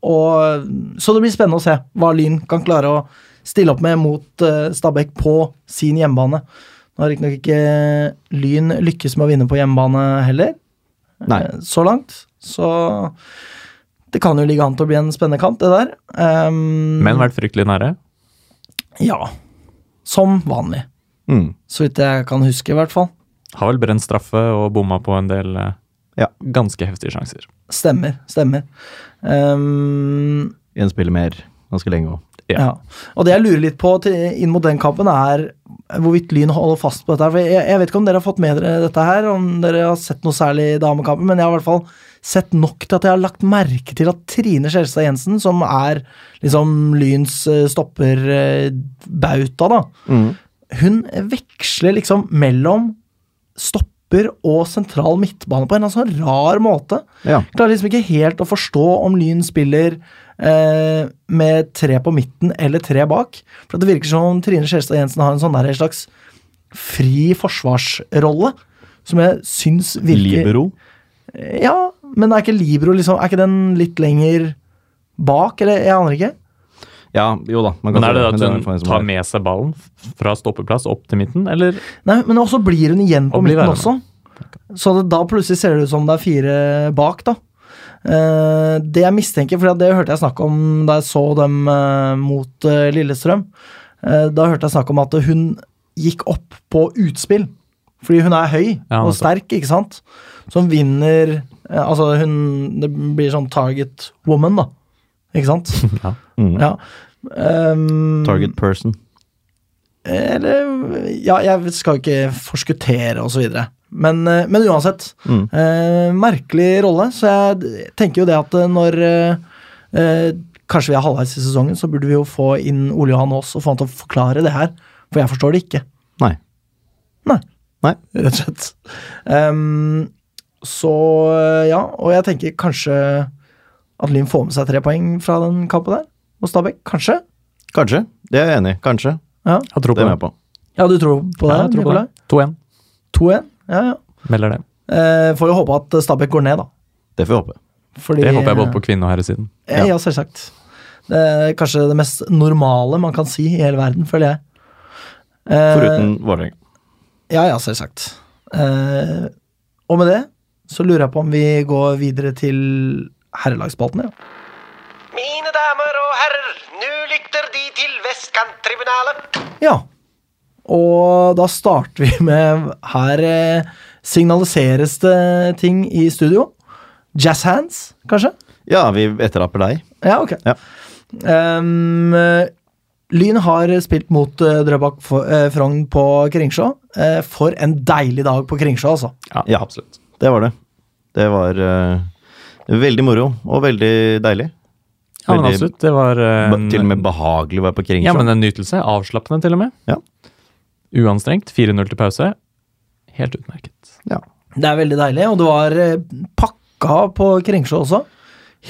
S1: og, Så det blir spennende å se hva Lyn kan klare å stille opp med mot eh, Stabæk på sin hjemmebane. Nå har riktignok ikke Lyn lykkes med å vinne på hjemmebane heller,
S2: Nei.
S1: eh, så langt. Så det kan jo ligge an til å bli en spennende kamp, det der. Ehm,
S3: Men vært fryktelig nære.
S1: Ja. Som vanlig.
S2: Mm.
S1: Så vidt jeg kan huske, i hvert fall.
S3: Har vel brent straffe og bomma på en del eh,
S2: Ja.
S3: ganske heftige sjanser.
S1: Stemmer. Stemmer. Ehm,
S2: En spiller mer. Ganske lenge òg.
S3: Ja.
S1: Ja. Og det jeg lurer litt på til, inn mot den kampen, er hvorvidt Lyn holder fast på dette. her, For jeg, jeg vet ikke om dere har fått med dere dette her, om dere har sett noe særlig i damekampen, men jeg har i hvert fall sett nok til at jeg har lagt merke til at Trine Skjelstad Jensen, som er liksom Lyns eh, stopperbauta, da,
S2: Mm.
S1: hun veksler liksom mellom stopper og sentral midtbane på en eller annen sånn rar måte.
S2: Ja.
S1: Klarer liksom ikke helt å forstå om Lyn spiller eh, med tre på midten eller tre bak. For det virker som om Trine Skjelstad Jensen har en sånn der, en slags fri forsvarsrolle. Som jeg syns virker
S2: Libero.
S1: Ja, men er ikke Libro liksom Er ikke den litt lenger bak, eller? Jeg aner ikke.
S2: Ja, jo da. Man
S3: Men
S2: si men
S3: er det da
S2: er i
S3: at
S2: hvert fall en
S3: hun
S2: som
S3: tar
S2: er-
S3: med seg ballen f- fra stoppeplass opp til midten, eller
S1: Nei, men også blir hun igjen på
S3: Og blir
S1: midten
S3: værende.
S1: også. Så det, da plutselig ser det ut som det er fire bak, da. Eh, det jeg mistenker, for det hørte jeg snakk om da jeg så dem eh, mot eh, Lillestrøm. Eh, da hørte jeg snakk om at hun gikk opp på utspill. Fordi hun er høy
S3: Ja,
S1: og
S3: nettopp.
S1: sterk, ikke sant? Så hun vinner eh, Altså, hun Det blir sånn target woman, da. Ikke sant?
S3: Ja.
S2: Mm.
S1: ja. Ehm,
S2: Target person.
S1: Eller Ja, jeg skal jo ikke forskuttere og så videre. Men, eh, men uansett.
S2: Mm.
S1: Eh, merkelig rolle, så jeg d- tenker jo det at eh, når eh, eh, Kanskje vi er halvveis i sesongen, så burde vi jo få inn Ole Johan Aas og få han til å forklare det her. For jeg forstår det ikke.
S2: Nei.
S1: Nei.
S2: Nei.
S1: Rett og slett. Ehm, så eh, ja, og jeg tenker kanskje at Lyn får med seg tre poeng fra den kampen der. Og Stabæk, kanskje?
S2: Kanskje. Det er jeg enig i. Kanskje.
S1: Ja,
S3: Jeg
S2: Det er
S3: tror på
S2: jeg
S3: det.
S2: med på.
S1: ja du tror på det?
S3: Ja, jeg tror på det.
S1: Nikolai?
S3: 2-1.
S1: 2-1? Ja, ja.
S3: Melder det.
S1: Eh, får jo håpe at Stabæk går ned, da.
S2: Det får vi håpe.
S1: Fordi, Eh,
S3: Det håper jeg både på kvinne- og herresiden.
S1: Ja, ja, selvsagt. Det er kanskje det mest normale man kan si i hele verden, føler jeg. Eh,
S2: Foruten Vålerenga.
S1: Ja, ja, selvsagt. Eh, og med det så lurer jeg på om vi går videre til herrelagsspalten, ja.
S5: Mine damer og herrer, nå lytter De til Vestkanttribunalet.
S1: Ja. Og da starter vi med Her eh, signaliseres det ting i studio. Jazz hands, kanskje?
S2: Ja, vi etteraper deg.
S1: Ja, ok.
S2: Ja.
S1: Ehm, Lyn har spilt mot eh, Drøbak for, eh, Frogn på Kringsjå. Eh, for en deilig dag på Kringsjå, altså.
S2: Ja, absolutt. Det var det. Det var eh, veldig moro og veldig deilig.
S3: Ja, men
S2: Veldig-
S3: absolutt. Det var eh,
S2: Ba- Til og med behagelig å være på Kringsjå.
S3: Ja, men en nytelse. Avslappende, til og med.
S2: Ja.
S3: Uanstrengt. 4-0 til pause. Helt utmerket.
S2: Ja.
S1: Det er veldig deilig, og det var eh, pakka på Kringsjå også.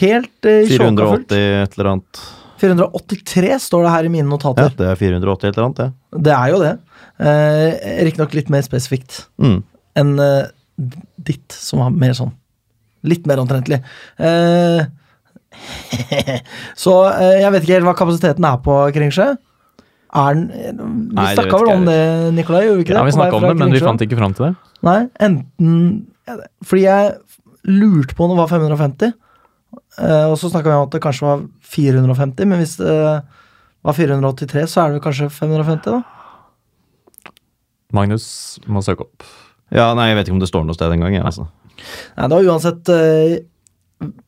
S1: Helt eh, tjåka fullt.
S2: 480 et eller annet.
S1: 483 står det her i mine
S2: Ja,
S1: notater.
S2: det er 480 et eller annet, det.
S1: Det er jo det. Eh, Riktignok litt mer spesifikt
S2: Mm.
S1: enn eh, ditt, som var mer sånn Litt mer omtrentlig. Eh, så eh, jeg vet ikke helt hva kapasiteten er på Kringsjø. Er den eh, Vi
S2: Nei, det vet
S1: snakka vel
S2: ikke
S1: om
S2: jeg
S1: det, Nikolai? Gjorde vi ikke det?
S3: Ja,
S1: På
S3: vi
S1: vei
S3: snakka om
S1: fra
S3: det, men vi
S1: Kringsjø?
S3: fant ikke fram til det.
S1: Nei, enten Fordi jeg lurte på om det var 550, eh, og så snakka vi om at det kanskje var 450, men hvis det var 483, så er det vel kanskje 550, da?
S3: Magnus må søke opp.
S2: Ja, nei, jeg vet ikke om det står noe sted engang. jeg, Altså.
S1: Nei, det var uansett eh,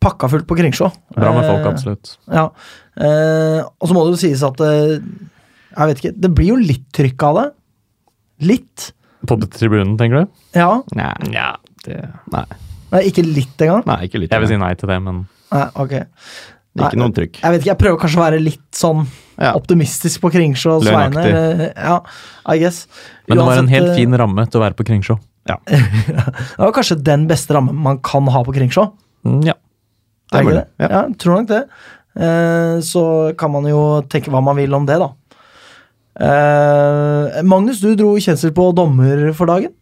S1: pakka fullt på Kringsjå.
S3: Bra med folk, altså.
S1: Eh,
S3: absolutt.
S1: Ja. Eh, og så må det jo sies at eh, Jeg vet ikke, det blir jo litt trykk av det. Litt.
S3: På tribunen, tenker du?
S1: Ja.
S2: Nei.
S3: Nja, det
S2: Nei.
S1: Nei, ikke litt engang.
S2: nei, ikke litt.
S3: Jeg vil si nei til det, men
S1: Nei, ok.
S2: Ikke noe trykk.
S1: Jeg vet ikke, jeg prøver kanskje å være litt sånn
S2: Ja.
S1: optimistisk på Kringsjås vegne.
S2: Løgnaktig.
S1: eller- Ja, I guess.
S3: Men det var en
S1: Uansett,
S3: helt
S1: eh,
S3: fin ramme til å være på Kringsjå.
S1: Det var kanskje den beste rammen man kan ha på Kringsjå.
S3: Mm, ja.
S1: Er
S2: Det er
S1: ikke
S2: mulig,
S1: det? Ja. jeg tror nok det. Eh, så kan man jo tenke hva man vil om det, da. Eh, Magnus, du dro kjensel på dommer for dagen.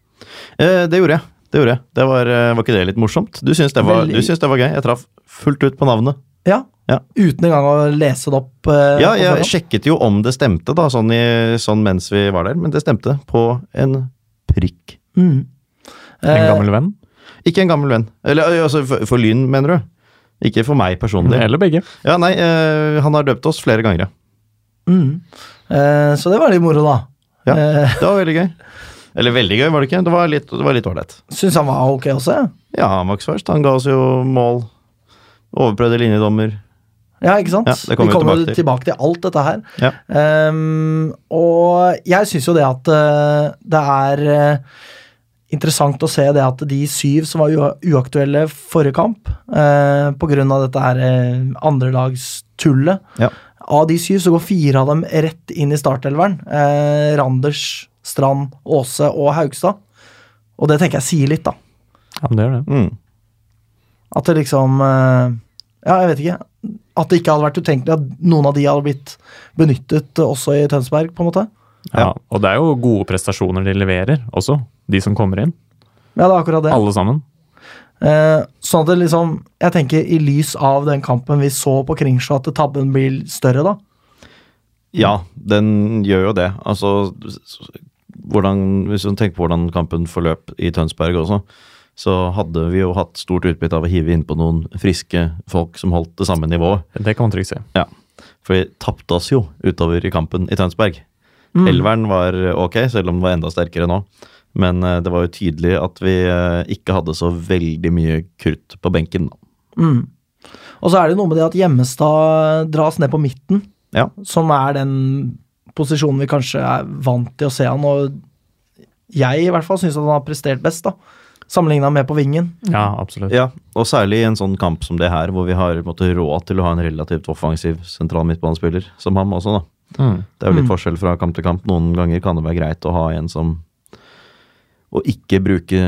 S2: Eh, det gjorde jeg. Det gjorde jeg. Det var, eh, var ikke det litt morsomt? Du syns det, var-
S1: Veldig.
S2: du syns det var gøy? Jeg traff fullt ut på navnet.
S1: Ja.
S2: Ja.
S1: Uten engang å lese det opp. eh,
S2: Ja,
S1: på
S2: jeg
S1: forhånd.
S2: sjekket jo om det stemte, da, sånn, i, sånn mens vi var der, men det stemte på en prikk.
S1: Mm.
S3: En
S1: Eh,
S3: gammel venn.
S2: Ikke en gammel venn. Eller ø, altså, for, for Lyn, mener du? Ikke for meg personlig.
S3: Eller begge.
S2: Ja, nei, eh, han har døpt oss flere ganger, ja.
S1: mm. Eh, så det var litt moro, da.
S2: Ja.
S1: Eh,
S2: Det var veldig gøy. Eller veldig gøy, var det ikke? Det var litt det var litt ålreit.
S1: Syns han var ok også, jeg.
S2: Ja, Max Verst, han ga oss jo mål. Overprøvde linjedommer.
S1: Ja, ikke sant?
S2: Ja, det
S1: vi
S2: kommer vi
S1: kommer
S2: tilbake til.
S1: tilbake til alt dette her.
S2: Ja.
S1: Ehm, og jeg syns jo det at eh, det er eh, interessant å se det at de syv som var ua- uaktuelle forrige kamp, eh, på grunn av dette her eh, andrelagstullet
S2: Ja.
S1: Av de syv så går fire av dem rett inn i startelveren. Eh, Randers, Strand, Aase og Haugstad. Og det tenker jeg sier litt, da.
S3: Ja, men det gjør det.
S2: Mm.
S1: At det liksom eh, Ja, jeg vet ikke. At det ikke hadde vært utenkelig at noen av de hadde blitt benyttet eh, også i Tønsberg, på en måte.
S2: Ja.
S3: Ja, og det er jo gode prestasjoner de leverer også, de som kommer inn.
S1: Ja, det er akkurat det.
S3: Alle sammen.
S1: Eh, sånn at det liksom Jeg tenker i lys av den kampen vi så på Kringsjå, at tabben blir større, da.
S2: Ja, den gjør jo det. Altså, s- s- hvordan, hvis du tenker på hvordan kampen forløp i Tønsberg også, så hadde vi jo hatt stort utbytte av å hive innpå noen friske folk som holdt det samme nivået.
S3: Det kan man trygt si.
S2: Ja. For vi tapte oss jo utover i kampen i Tønsberg. Elveren var eh, ok, selv om den var enda sterkere nå. Men eh, det var jo tydelig at vi eh, ikke hadde så veldig mye krutt på benken.
S1: Og så er det noe med det at Hjemmestad dras ned på midten,
S2: Ja.
S1: som er den posisjonen vi kanskje er vant til å se han, og jeg i hvert fall syns at han har prestert best, da. Sammenligna med på vingen.
S3: Mm. Ja, absolutt.
S2: Ja, og særlig i en sånn kamp som det her, hvor vi har på en måte, råd til å ha en relativt offensiv sentral midtbanespiller, som ham også, da.
S3: Mm.
S2: Det er jo litt
S1: Mm.
S2: forskjell fra kamp til kamp. Noen ganger kan det være greit å ha en som Å ikke bruke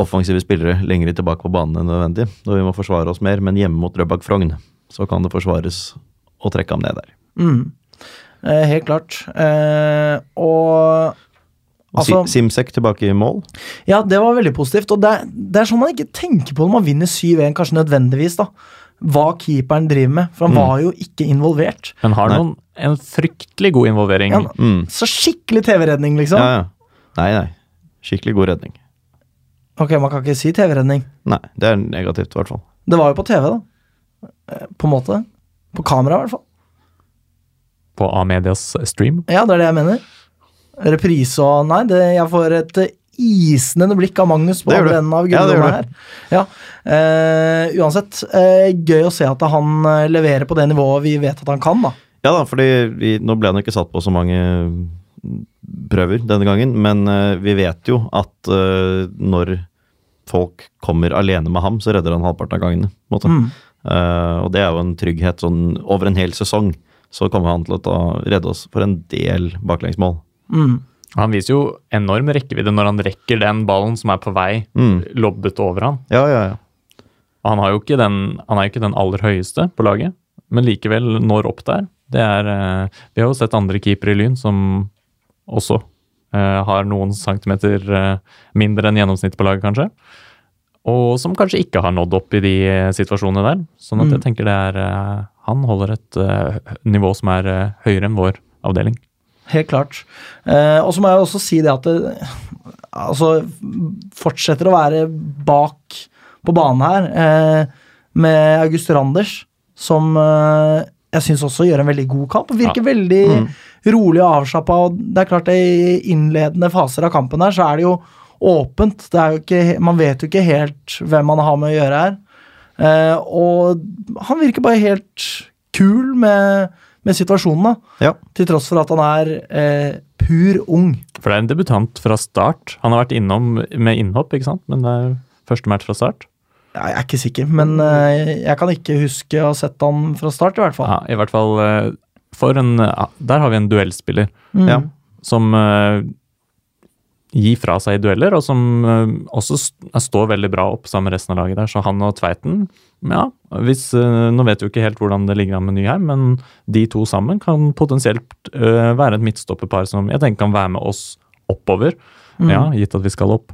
S2: offensive spillere lenger tilbake på banen enn nødvendig, når vi må forsvare oss mer, men hjemme mot Drøbak Frogn så kan det forsvares å trekke ham ned der.
S1: Mm. Eh, helt klart. Eh, og
S2: Og Si-
S1: Altså-
S2: Simsek tilbake i mål.
S1: Ja, det var veldig positivt. Og det er, det er sånn man ikke tenker på når man vinner 7-1, kanskje nødvendigvis, da. Hva keeperen driver med, for han
S2: Mm.
S1: var jo ikke involvert.
S3: Men har
S2: Nei.
S3: noen en fryktelig god involvering.
S1: Ja,
S2: Mm.
S1: så skikkelig TV-redning, liksom.
S2: Ja, ja. Nei, nei. Skikkelig god redning.
S1: Ok, man kan ikke si TV-redning.
S2: Nei, det er negativt, i hvert fall.
S1: Det var jo på TV, da. Eh, På en måte. På kamera, i hvert fall.
S3: På A-medias stream.
S1: Ja, det er det jeg mener. Reprise og Nei, det, jeg får et eh, isnende blikk av Magnus på
S2: Det gjør
S1: andre
S2: du.
S1: enden av
S2: Ja, det gjør
S1: gullrommet her. Ja. Eh, uansett, eh, gøy å se at han eh, leverer på det nivået vi vet at han kan, da.
S2: Ja da, fordi vi, nå ble han jo ikke satt på så mange mm, prøver denne gangen, men eh, vi vet jo at eh, når folk kommer alene med ham, så redder han halvparten av gangene. på en måte.
S1: Mm.
S2: Eh, og det er jo en trygghet sånn over en hel sesong. Så kommer han til å ta, redde oss for en del baklengsmål.
S1: Mm.
S3: Han viser jo enorm rekkevidde når han rekker den ballen som er på vei,
S2: Mm.
S3: lobbet over han.
S2: Ja, ja, ja.
S3: Og han, har jo ikke den, han er jo ikke den aller høyeste på laget, men likevel når opp der. Det er, eh, vi har jo sett andre keepere i Lyn som også eh, har noen centimeter eh, mindre enn gjennomsnittet på laget, kanskje. Og som kanskje ikke har nådd opp i de eh, situasjonene der. Sånn at jeg tenker det er eh, Han holder et eh, nivå som er eh, høyere enn vår avdeling.
S1: Helt klart. Eh, og så må jeg også si det at det altså, fortsetter å være bak på banen her eh, med August Randers, som eh, jeg syns også gjør en veldig god kamp. Virker veldig rolig og avslappa. og Det er klart det i innledende faser av kampen her, så er det jo åpent. Det er jo ikke, man vet jo ikke helt hvem man har med å gjøre her. Eh, og han virker bare helt kul med, med situasjonen, da.
S2: Ja.
S1: Til tross for at han er eh, pur ung.
S3: For det er en debutant fra start. Han har vært innom med innhopp, ikke sant? men det er første match fra start.
S1: Ja, Jeg er ikke sikker, men eh, jeg kan ikke huske å ha sett han fra start, i hvert fall.
S3: Ja, i hvert fall eh, for en ja, Der har vi en duellspiller
S1: Mm.
S2: ja.
S3: som eh, gir fra seg i dueller, og som eh, også st- står veldig bra opp sammen med resten av laget der. Så han og Tveiten ja, hvis, eh, Nå vet vi jo ikke helt hvordan det ligger an med Nyheim, men de to sammen kan potensielt eh, være et midtstopperpar som jeg tenker kan være med oss oppover. Ja, gitt at vi skal opp,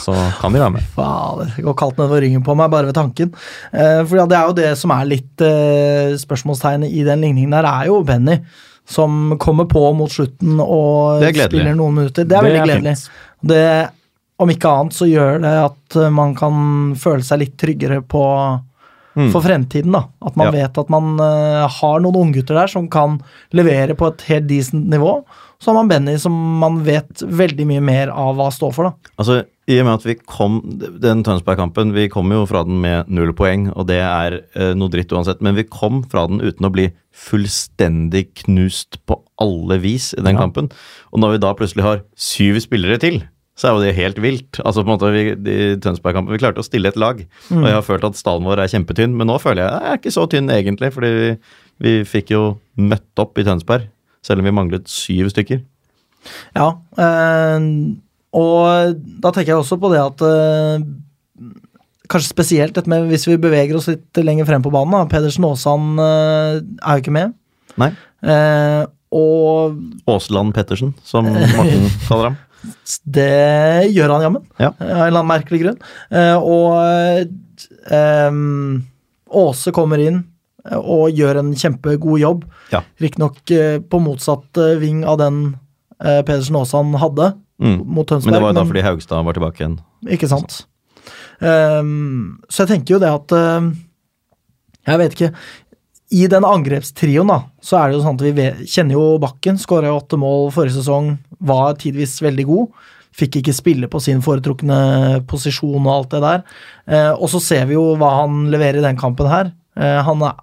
S3: så kan de være med.
S1: Fader, det går kaldt nedover ryggen på meg bare ved tanken. Eh, for ja, det er jo det som er litt eh, spørsmålstegnet i den ligningen der, er jo Benny. Som kommer på mot slutten og
S2: Det er gledelig.
S1: spiller noen minutter. Det er
S3: Det
S1: veldig
S3: er
S1: gledelig. Det, om ikke annet så gjør det at eh, man kan føle seg litt tryggere på
S2: Mm.
S1: for fremtiden. da. At man
S2: Ja.
S1: vet at man eh, har noen unggutter der som kan levere på et helt decent nivå. Så har man Benny som man vet veldig mye mer av hva står for. da.
S2: Altså, I og med at vi kom den Tønsberg-kampen Vi kom jo fra den med null poeng, og det er eh, noe dritt uansett. Men vi kom fra den uten å bli fullstendig knust på alle vis i den
S3: Ja.
S2: kampen. Og når vi da plutselig har syv spillere til, så er jo det helt vilt. Altså på en måte, vi, I Tønsberg-kampen vi klarte å stille et lag, og jeg har følt at stallen vår er kjempetynn. Men nå føler jeg jeg er ikke så tynn egentlig, fordi vi, vi fikk jo møtt opp i Tønsberg. Selv om vi manglet syv stykker.
S1: Ja, eh, Og da tenker jeg også på det at eh, Kanskje spesielt dette med hvis vi beveger oss litt lenger frem på banen. da. Pedersen Aasand eh, er jo ikke med.
S2: Nei.
S1: Eh, og
S2: Aasland Pettersen, som Morten kaller ham.
S1: Det gjør han jammen,
S2: Ja.
S1: av en eller annen merkelig grunn. Eh, og eh, em, Åse kommer inn eh, og gjør en kjempegod jobb.
S2: Ja.
S1: Riktignok eh, på motsatt eh, ving av den eh, Pedersen Aasan hadde
S2: Mm.
S1: mot
S2: Men
S1: Tønsberg.
S2: det var jo da fordi Haugstad var tilbake igjen.
S1: Ikke sant. Ehm, så jeg tenker jo det at ehm, Jeg vet ikke. I den angrepstrioen da, så er det jo sånn at vi ve- kjenner jo Bakken. Skåra jo åtte mål forrige sesong, var tidvis veldig god. Fikk ikke spille på sin foretrukne posisjon og alt det der. Eh, og så ser vi jo hva han leverer i den kampen her. Eh, Han er,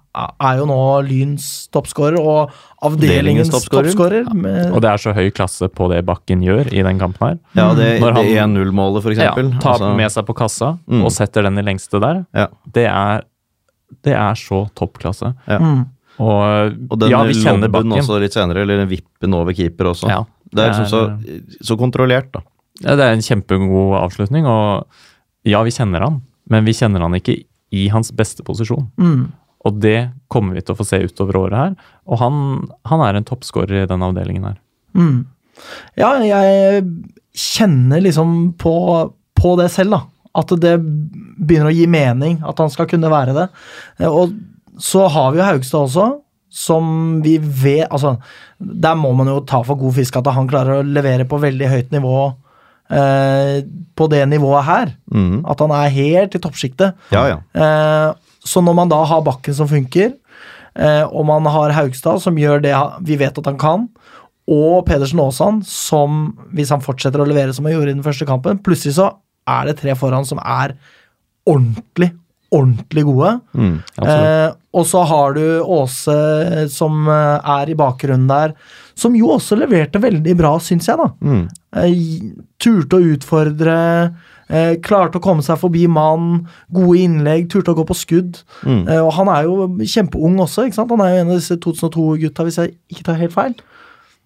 S1: er jo nå Lyns toppskårer og avdelingens
S2: Avdelingens toppskårer.
S1: toppskårer. med-
S3: Og det er så høy klasse på det Bakken gjør i den kampen her.
S2: Ja, det,
S3: Når han-
S2: det 1-0-målet, for
S3: Ja,
S2: eksempel.
S3: tar
S2: Altså,
S3: med seg på kassa
S2: Mm.
S3: og setter den i lengste der.
S2: Ja.
S3: Det er, det er så toppklasse.
S2: Ja.
S1: Mm.
S3: Og,
S2: Og den
S3: ja, vi kjenner
S2: lobben
S3: Bakken.
S2: også litt senere, eller den vippen over keeper også.
S3: Ja. Eh.
S2: Det er liksom så, så kontrollert, da.
S3: Ja, det er en kjempegod avslutning, og ja, vi kjenner han, men vi kjenner han ikke i hans beste posisjon.
S1: Mm.
S3: Og det kommer vi til å få se utover året her, og han, han er en toppskårer i den avdelingen her.
S1: Mm. Ja, jeg kjenner liksom på, på det selv, da. At det begynner å gi mening at han skal kunne være det. Eh, Og så har vi jo Haugstad også, som vi vet Altså, der må man jo ta for god fisk at han klarer å levere på veldig høyt nivå eh, på det nivået her.
S2: Mhm.
S1: At han er helt i toppsjiktet.
S2: Ja, ja.
S1: Eh, Så når man da har Bakken som funker, eh, og man har Haugstad som gjør det ha- vi vet at han kan, og Pedersen Aasand som, hvis han fortsetter å levere som han gjorde i den første kampen, plutselig så er det tre foran som er ordentlig, ordentlig gode.
S2: Mm.
S3: Absolutt.
S1: Eh, og så har du Åse eh, som eh, er i bakgrunnen der, som jo også leverte veldig bra, syns jeg, da.
S2: Mm.
S1: Eh, gi- turte å utfordre, eh, klarte å komme seg forbi mannen, gode innlegg, turte å gå på skudd.
S2: Mm.
S1: Eh, og han er jo kjempeung også, ikke sant? Han er jo en av disse 2002-gutta, hvis jeg ikke tar helt feil.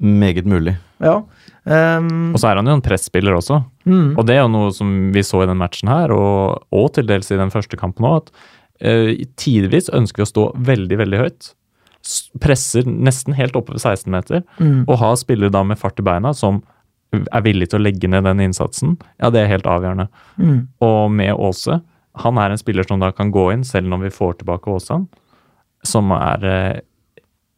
S2: Meget mulig.
S1: Ja. Ehm,
S3: Og så er han jo en presspiller også,
S1: mm,
S3: og det er jo noe som vi så i den matchen her, og, og til dels i den første kampen òg, at eh, tidvis ønsker vi å stå veldig, veldig høyt. S- Presser nesten helt oppe ved 16 meter,
S1: mm.
S3: Å ha spillere da med fart i beina som er villig til å legge ned den innsatsen, ja, det er helt avgjørende.
S1: Mm.
S3: Og med Aase, han er en spiller som da kan gå inn, selv når vi får tilbake Aasan, som er eh,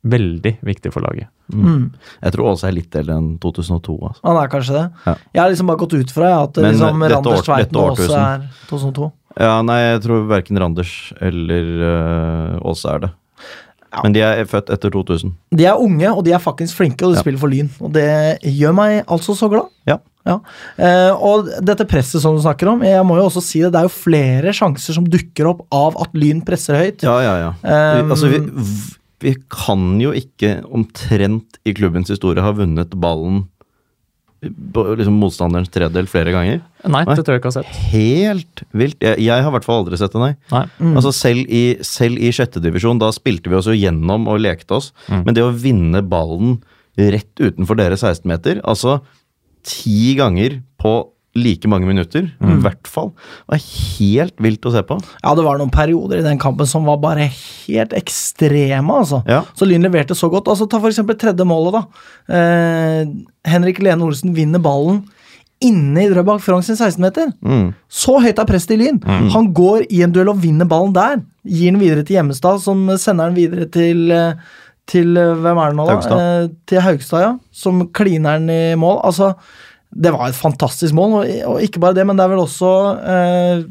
S3: veldig viktig for laget.
S1: Mm.
S2: Jeg tror Åse er litt eldre enn 2002, altså.
S1: Han er kanskje det.
S2: Ja.
S1: Jeg har liksom bare gått ut fra at
S2: Men,
S1: liksom,
S2: eh, dette
S1: Randers
S2: år- dette
S1: Tveiten også
S2: årtusen.
S1: er 2002.
S2: Ja, nei, jeg tror verken Randers eller uh, Åse er det.
S1: Ja.
S2: Men de er født etter 2000.
S1: De er unge, og de er faktisk flinke, og de
S2: Ja.
S1: spiller for Lyn. Og det gjør meg altså så glad.
S2: Ja.
S1: Eh, og dette presset som du snakker om, jeg må jo også si det, det er jo flere sjanser som dukker opp av at Lyn presser høyt.
S2: Ja, ja, ja.
S1: Ehm,
S2: vi, altså, vi, v- vi kan jo ikke omtrent i klubbens historie ha vunnet ballen på liksom motstanderens tredel flere ganger.
S3: Nei,
S2: Nei.
S3: det tror jeg ikke jeg har sett.
S2: Helt vilt. Jeg, jeg har i hvert fall aldri sett det, nei.
S3: Nei.
S2: Altså selv i, selv i sjette divisjon, da spilte vi oss jo gjennom og lekte oss. Men det å vinne ballen rett utenfor dere 16-meter, altså ti ganger på like mange minutter, i hvert fall, var helt vilt å se på.
S1: Ja, det var noen perioder i den kampen som var bare helt ekstreme, altså.
S2: Ja.
S1: Så Lyn leverte så godt. Altså, ta for eksempel tredje målet, da. Eh, Henrik Lene Olsen vinner ballen inne i Drøbak Frogn sin 16-meter.
S2: Mm.
S1: Så høyt er presset i Lyn. Han går i en duell og vinner ballen der. Gir den videre til Hjemmestad, som sender den videre til eh, til eh, hvem er det nå, da?
S2: Haugstad.
S1: Eh, til Haugstad, ja. Som kliner den i mål. Altså, det var et fantastisk mål, og, og ikke bare det, men det er vel også eh,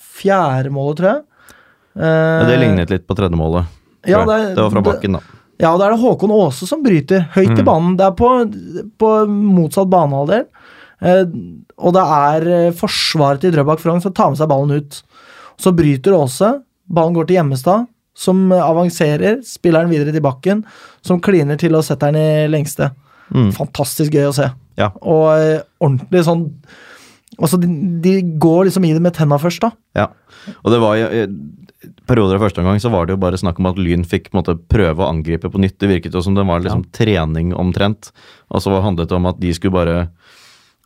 S1: fjerde målet, tror jeg.
S2: Ja,
S1: Eh,
S2: det lignet litt på tredje målet. tror
S1: Ja,
S2: jeg.
S1: det-
S2: det var fra
S1: det-
S2: bakken, da.
S1: Ja, og da er det Håkon Aase som bryter, høyt i banen. Det er på, på motsatt banehalvdel. Eh, og det er eh, forsvaret til Drøbak Frogn som tar med seg ballen ut. Så bryter Aase, ballen går til Gjemmestad, som eh, avanserer, spiller den videre til bakken, som kliner til og setter den i lengste.
S2: Mm.
S1: Fantastisk gøy å se.
S2: Ja.
S1: Og eh, ordentlig sånn Altså, de, de går liksom i det med tenna først, da.
S2: Ja. Og det var jo i perioder av første omgang så var det jo bare snakk om at Lyn fikk på en måte, prøve å angripe på nytt. Det virket jo som det var liksom trening omtrent. Og så handlet det om at de skulle bare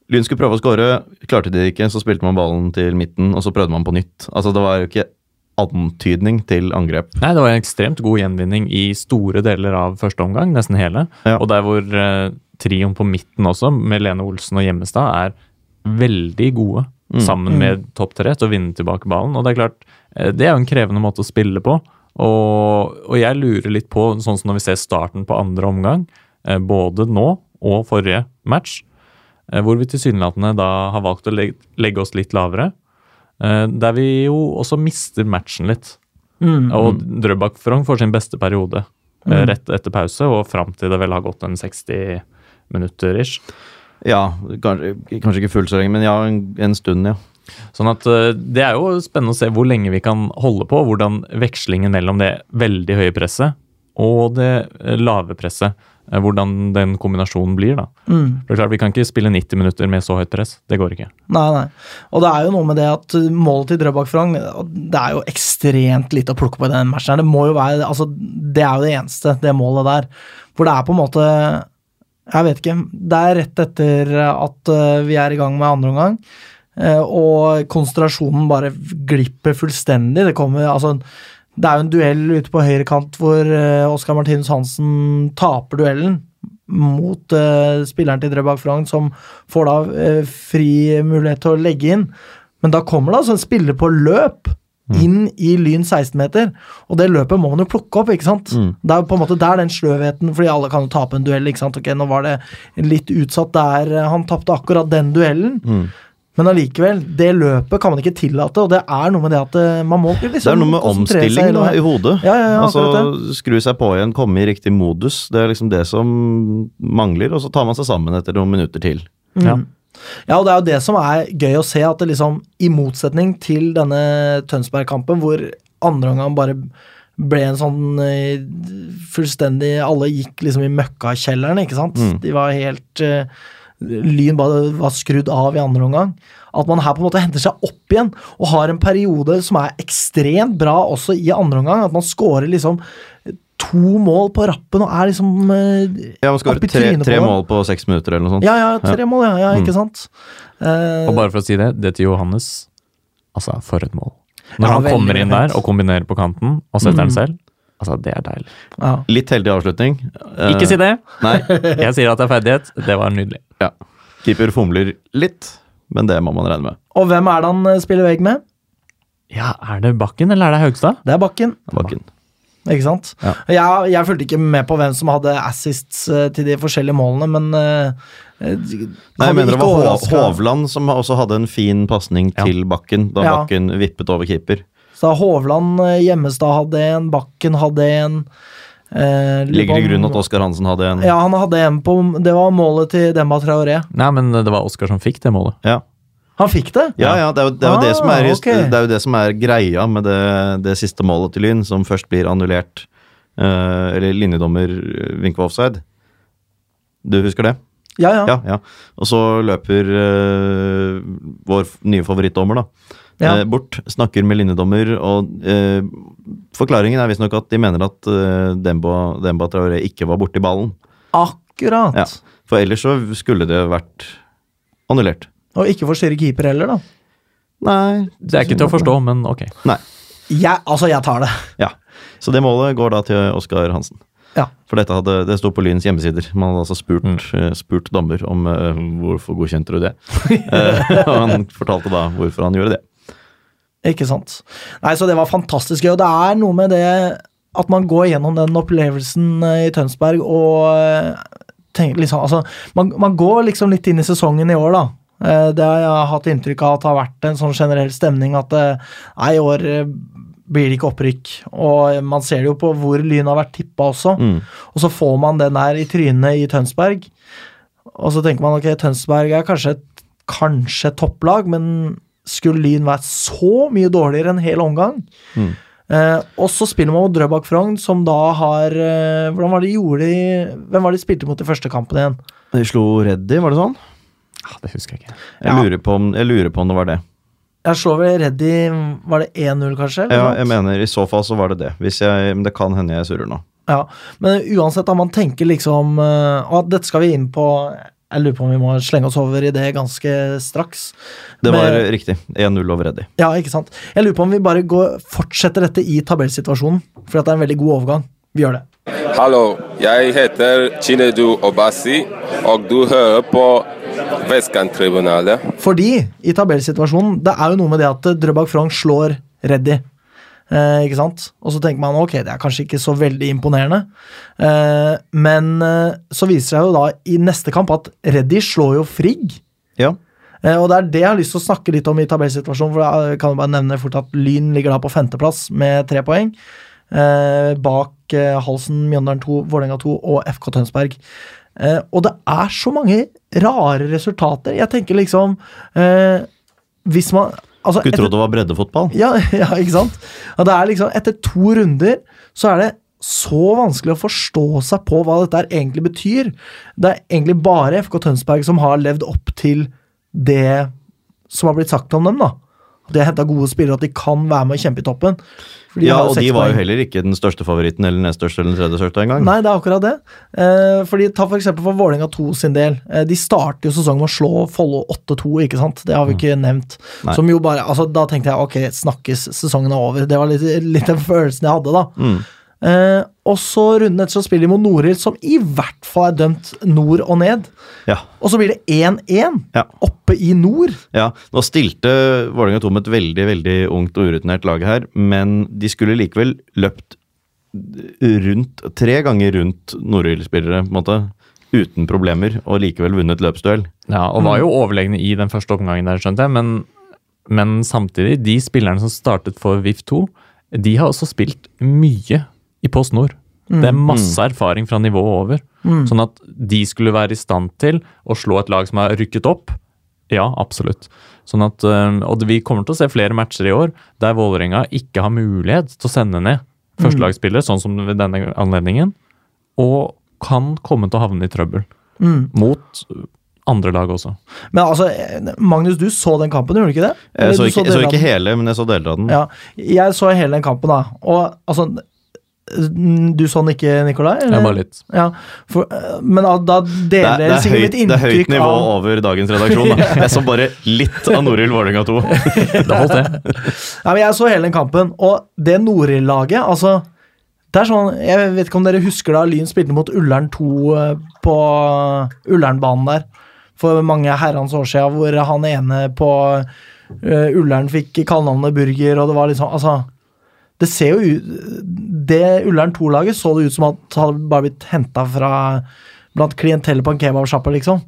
S2: Lyn skulle prøve å skåre, klarte de det ikke, så spilte man ballen til midten, og så prøvde man på nytt. Altså det var jo ikke antydning til angrep.
S3: Nei, det var en ekstremt god gjenvinning i store deler av første omgang, nesten hele.
S2: Ja.
S3: Og der hvor eh, trioen på midten også, med Lene Olsen og Gjemmestad, er veldig gode sammen med topp tre til å vinne tilbake ballen. Og det er klart, eh, det er jo en krevende måte å spille på. Og, og jeg lurer litt på, sånn som når vi ser starten på andre omgang, eh, både nå og forrige match, eh, hvor vi tilsynelatende da har valgt å legge, legge oss litt lavere, eh, der vi jo også mister matchen litt. Og Drøbak Frogn får sin beste periode eh, rett etter pause og fram til det vel har gått en 60 minutter ish.
S2: Ja, kanskje, kanskje ikke fullt så lenge, men ja, en, en stund, ja.
S3: Sånn at eh, Det er jo spennende å se hvor lenge vi kan holde på, hvordan vekslingen mellom det veldig høye presset og det eh, lave presset, eh, hvordan den kombinasjonen blir. da.
S1: Mm.
S3: Det er klart, Vi kan ikke spille 90 minutter med så høyt press. Det går ikke.
S1: Nei, nei. Og det er jo noe med det at målet til Drøbak Frogn Det er jo ekstremt lite å plukke på i den matchen. her. Det må jo være, altså, det er jo det eneste, det målet der. For det er på en måte Jeg vet ikke. Det er rett etter at eh, vi er i gang med andre omgang, eh, og konsentrasjonen bare glipper fullstendig. Det kommer altså det er jo en duell ute på høyre kant hvor eh, Oskar Martinus Hansen taper duellen mot eh, spilleren til Drøbak Frogn, som får da eh, fri mulighet til å legge inn. Men da kommer det altså en spiller på løp
S2: Mm.
S1: inn i Lyn 16-meter, og det løpet må man jo plukke opp, ikke sant?
S2: Mm.
S1: Det er jo på en måte der den sløvheten, fordi alle kan jo tape en duell, ikke sant? Ok, nå var det litt utsatt der, eh, han tapte akkurat den duellen.
S2: Mm.
S1: Men allikevel, det løpet kan man ikke tillate, og det er noe med det at eh, man må liksom
S2: Det er noe med
S1: konsentrere seg
S2: omstilling
S1: hele
S2: da,
S1: veien.
S2: i hodet.
S1: Ja, ja, ja, akkurat
S2: altså, skru seg på igjen, komme i riktig modus. Det er liksom det som mangler, og så tar man seg sammen etter noen minutter til.
S3: Ja.
S1: Ja, og det er jo det som er gøy å se, at det liksom, i motsetning til denne Tønsberg-kampen, hvor andre omgang bare ble en sånn eh, fullstendig Alle gikk liksom i møkkakjelleren, ikke sant?
S2: Mm.
S1: De var helt eh, Lyn bare var skrudd av i andre omgang. At man her på en måte henter seg opp igjen og har en periode som er ekstremt bra også i andre omgang. At man scorer liksom to mål på rappen og er liksom eh,
S2: Ja, man skårer
S1: Opp i
S2: tre,
S1: trynet på
S2: tre
S1: dem.
S2: mål på seks minutter eller noe sånt.
S1: Ja, ja, tre mål, ja, ja
S2: Mm.
S1: ikke sant? Eh,
S3: Og bare for å si det, det til Johannes Altså, for et mål. Når
S1: Ja,
S3: han
S1: veldig,
S3: kommer inn der
S1: veldig.
S3: og kombinerer på kanten og setter den selv, altså, det er deilig.
S1: ja.
S2: Litt heldig avslutning. Eh,
S3: Ikke si det!
S2: Nei,
S3: Jeg sier at det er ferdighet. Det var nydelig.
S2: ja. Keeper fomler litt, men det må man regne med.
S1: Og hvem er det han eh, spiller vegg med?
S3: Ja, er det Bakken eller er det Haugstad?
S1: Det er Bakken,
S2: Bakken.
S1: ikke sant?
S2: Ja.
S1: Jeg, jeg fulgte ikke med på hvem som hadde assists eh, til de forskjellige målene, men eh, eh, kan
S2: Nei, jeg
S1: vi
S2: mener det
S1: ikke
S2: var Hov-
S1: overraske-
S2: Hovland som også hadde en fin pasning til Bakken, da
S1: Ja.
S2: Bakken vippet over keeper.
S1: Så Hovland, eh, Hjemmestad hadde en, Bakken hadde en. eh,
S2: Ligger i
S1: Lybom-
S2: grunnen at Oskar Hansen hadde en
S1: Ja, han hadde en på Det var målet til Demba Traoré.
S3: Nei, men det var Oskar som fikk det målet.
S2: Ja.
S1: Han fikk det!
S2: Ja, ja, det er jo det, er jo det, som,
S1: Ah,
S2: er,
S1: ok.
S2: det, er jo det som er greia med det, det siste målet til Lyn, som først blir annullert. eh, eller linjedommer eh, vinker offside. Du husker det?
S1: Ja, ja.
S2: Ja. ja. Og så løper eh, vår f- nye favorittdommer, da.
S1: Ja.
S2: eh, bort, snakker med linjedommer, og eh, forklaringen er visstnok at de mener at eh, Demba, Demba Traoré ikke var borti ballen.
S1: Akkurat!
S2: Ja. For ellers så skulle det vært annullert.
S1: Og ikke forstyrre keeper heller, da.
S2: Nei.
S3: Det er ikke til å forstå, men ok.
S2: Nei.
S1: Jeg, altså, jeg tar det.
S2: Ja, så det målet går da til Oskar Hansen.
S1: Ja.
S2: For dette hadde, det sto på Lyns hjemmesider. Man hadde altså spurt,
S1: Mm.
S2: eh, spurt dommer om eh, hvorfor godkjente du det. Eh, og han fortalte da hvorfor han gjorde det.
S1: Ikke sant. Nei, så det var fantastisk gøy. Og det er noe med det at man går gjennom den opplevelsen eh, i Tønsberg og eh, tenker liksom Altså, man, man går liksom litt inn i sesongen i år, da. Eh, Det har jeg hatt inntrykk av at det har vært en sånn generell stemning at eh, nei, i år eh, blir det ikke opprykk. Og eh, man ser det jo på hvor Lyn har vært tippa også. Og så får man den der i trynet i Tønsberg. Og så tenker man ok, Tønsberg er kanskje et, kanskje et topplag, men skulle Lyn vært så mye dårligere en hel omgang?
S2: Mm.
S1: Eh, og så spiller man mot Drøbak Frogn, som da har eh, Hvordan var det de gjorde i Hvem var det de spilte mot i første kampen igjen?
S2: De slo Reddy, var det sånn?
S3: Ah, det husker jeg ikke.
S2: Jeg,
S1: Ja.
S2: lurer på om, jeg lurer på om det var det.
S1: Jeg slår vel Reddy Var det 1-0, kanskje? eller
S2: Ja,
S1: noe?
S2: jeg mener I så fall så var det det. Hvis jeg, men det kan hende jeg surrer nå.
S1: ja. Men uansett, da man tenker liksom eh, Å, dette skal vi inn på Jeg lurer på om vi må slenge oss over i det ganske straks.
S2: Det var
S1: Men-
S2: riktig. 1-0 over Reddy.
S1: Ja, ikke sant. Jeg lurer på om vi bare går, fortsetter dette i tabellsituasjonen, for det er en veldig god overgang. Vi gjør det.
S6: Hallo, jeg heter Chinedu Obasi, og du hører på Vestkanttribunalet.
S1: Fordi i tabellsituasjonen, det er jo noe med det at eh, Drøbak Frogn slår Reddy. Eh, ikke sant? Og så tenker man ok, det er kanskje ikke så veldig imponerende. Eh, men eh, så viser det seg jo da i neste kamp at Reddy slår jo Frigg.
S2: Ja.
S1: Eh, Og det er det jeg har lyst til å snakke litt om i tabellsituasjonen. for Jeg kan jo bare nevne fort at Lyn ligger da på femteplass med tre poeng. Eh, bak eh, Halsen, Mjøndalen 2, Vålerenga 2 og FK Tønsberg. Eh, og det er så mange rare resultater. Jeg tenker liksom eh, hvis man altså,
S2: Skulle
S1: etter-
S2: trodd det var breddefotball.
S1: ja, ja, ikke sant? Og det er liksom, etter to runder så er det så vanskelig å forstå seg på hva dette her egentlig betyr. Det er egentlig bare FK Tønsberg som har levd opp til det som har blitt sagt om dem. da. De har henta gode spillere, at de kan være med og kjempe i toppen. For
S2: Ja,
S1: har jo
S2: og
S1: seks
S2: de var
S1: poeng.
S2: jo heller ikke den største favoritten eller den nest største eller den tredje største engang.
S1: Nei, det er akkurat det. Eh, fordi Ta for eksempel for Vålerenga 2 sin del. Eh, de starter jo sesongen med å slå Follo 8-2, ikke sant? Det har vi ikke nevnt.
S2: Mm. Nei.
S1: Som jo bare, altså Da tenkte jeg ok, snakkes, sesongen er over. Det var litt, litt den følelsen jeg hadde, da.
S2: Mm.
S1: Eh, og så runden etter så spiller de mot Norild, som i hvert fall er dømt nord og ned.
S2: Ja,
S1: Og så blir det 1-1
S2: Ja.
S1: oppe i nord.
S2: ja. Nå stilte Vålerenga 2 med et veldig veldig ungt og urutinert lag her, men de skulle likevel løpt rundt, tre ganger rundt Nordild-spillere, på en måte, uten problemer, og likevel vunnet løpsduell.
S3: Ja, og var jo overlegne i den første omgangen der, skjønte jeg. Men, men samtidig, de spillerne som startet for VIF2, de har også spilt mye i Post Nord. Det er masse erfaring fra nivået over. Sånn at de skulle være i stand til å slå et lag som har rykket opp. Ja, absolutt. Sånn at, øhm, og vi kommer til å se flere matcher i år der Vålerenga ikke har mulighet til å sende ned førstelagsspillere, sånn som ved denne anledningen, og kan komme til å havne i trøbbel. Mot andre lag også.
S1: Men altså, eh, Magnus, du så den kampen, gjorde du ikke det? Eller
S2: Jeg så
S1: du
S2: ikke, jeg
S1: deler
S2: så
S1: av
S2: ikke
S1: den?
S2: hele, men jeg så deler av den.
S1: Ja, jeg så hele den kampen, da. Og altså n- Du så den ikke, Nikolai? eller?
S3: Ja, bare litt.
S1: Ja, for, øh, men da, da
S2: Det er,
S1: deler
S2: det, er
S1: sikkert
S2: høyt,
S1: mitt
S2: det er høyt
S1: inntrykk
S2: nivå
S1: av
S2: over dagens redaksjon. Da. Jeg så bare litt av Nordild Vålerenga 2.
S3: Det holdt, det.
S1: Nei, men Jeg så hele den kampen, og det Norild-laget altså, det er sånn, Jeg vet ikke om dere husker da Lyn spilte mot Ullern 2 eh, på Ullernbanen der for mange herrens år siden, hvor han ene på eh, Ullern fikk kallenavnet Burger, og det var liksom Altså, det ser jo ut Det Ullern 2-laget så det ut som at det hadde bare blitt henta fra blant klientellet på en kebabsjappe, liksom.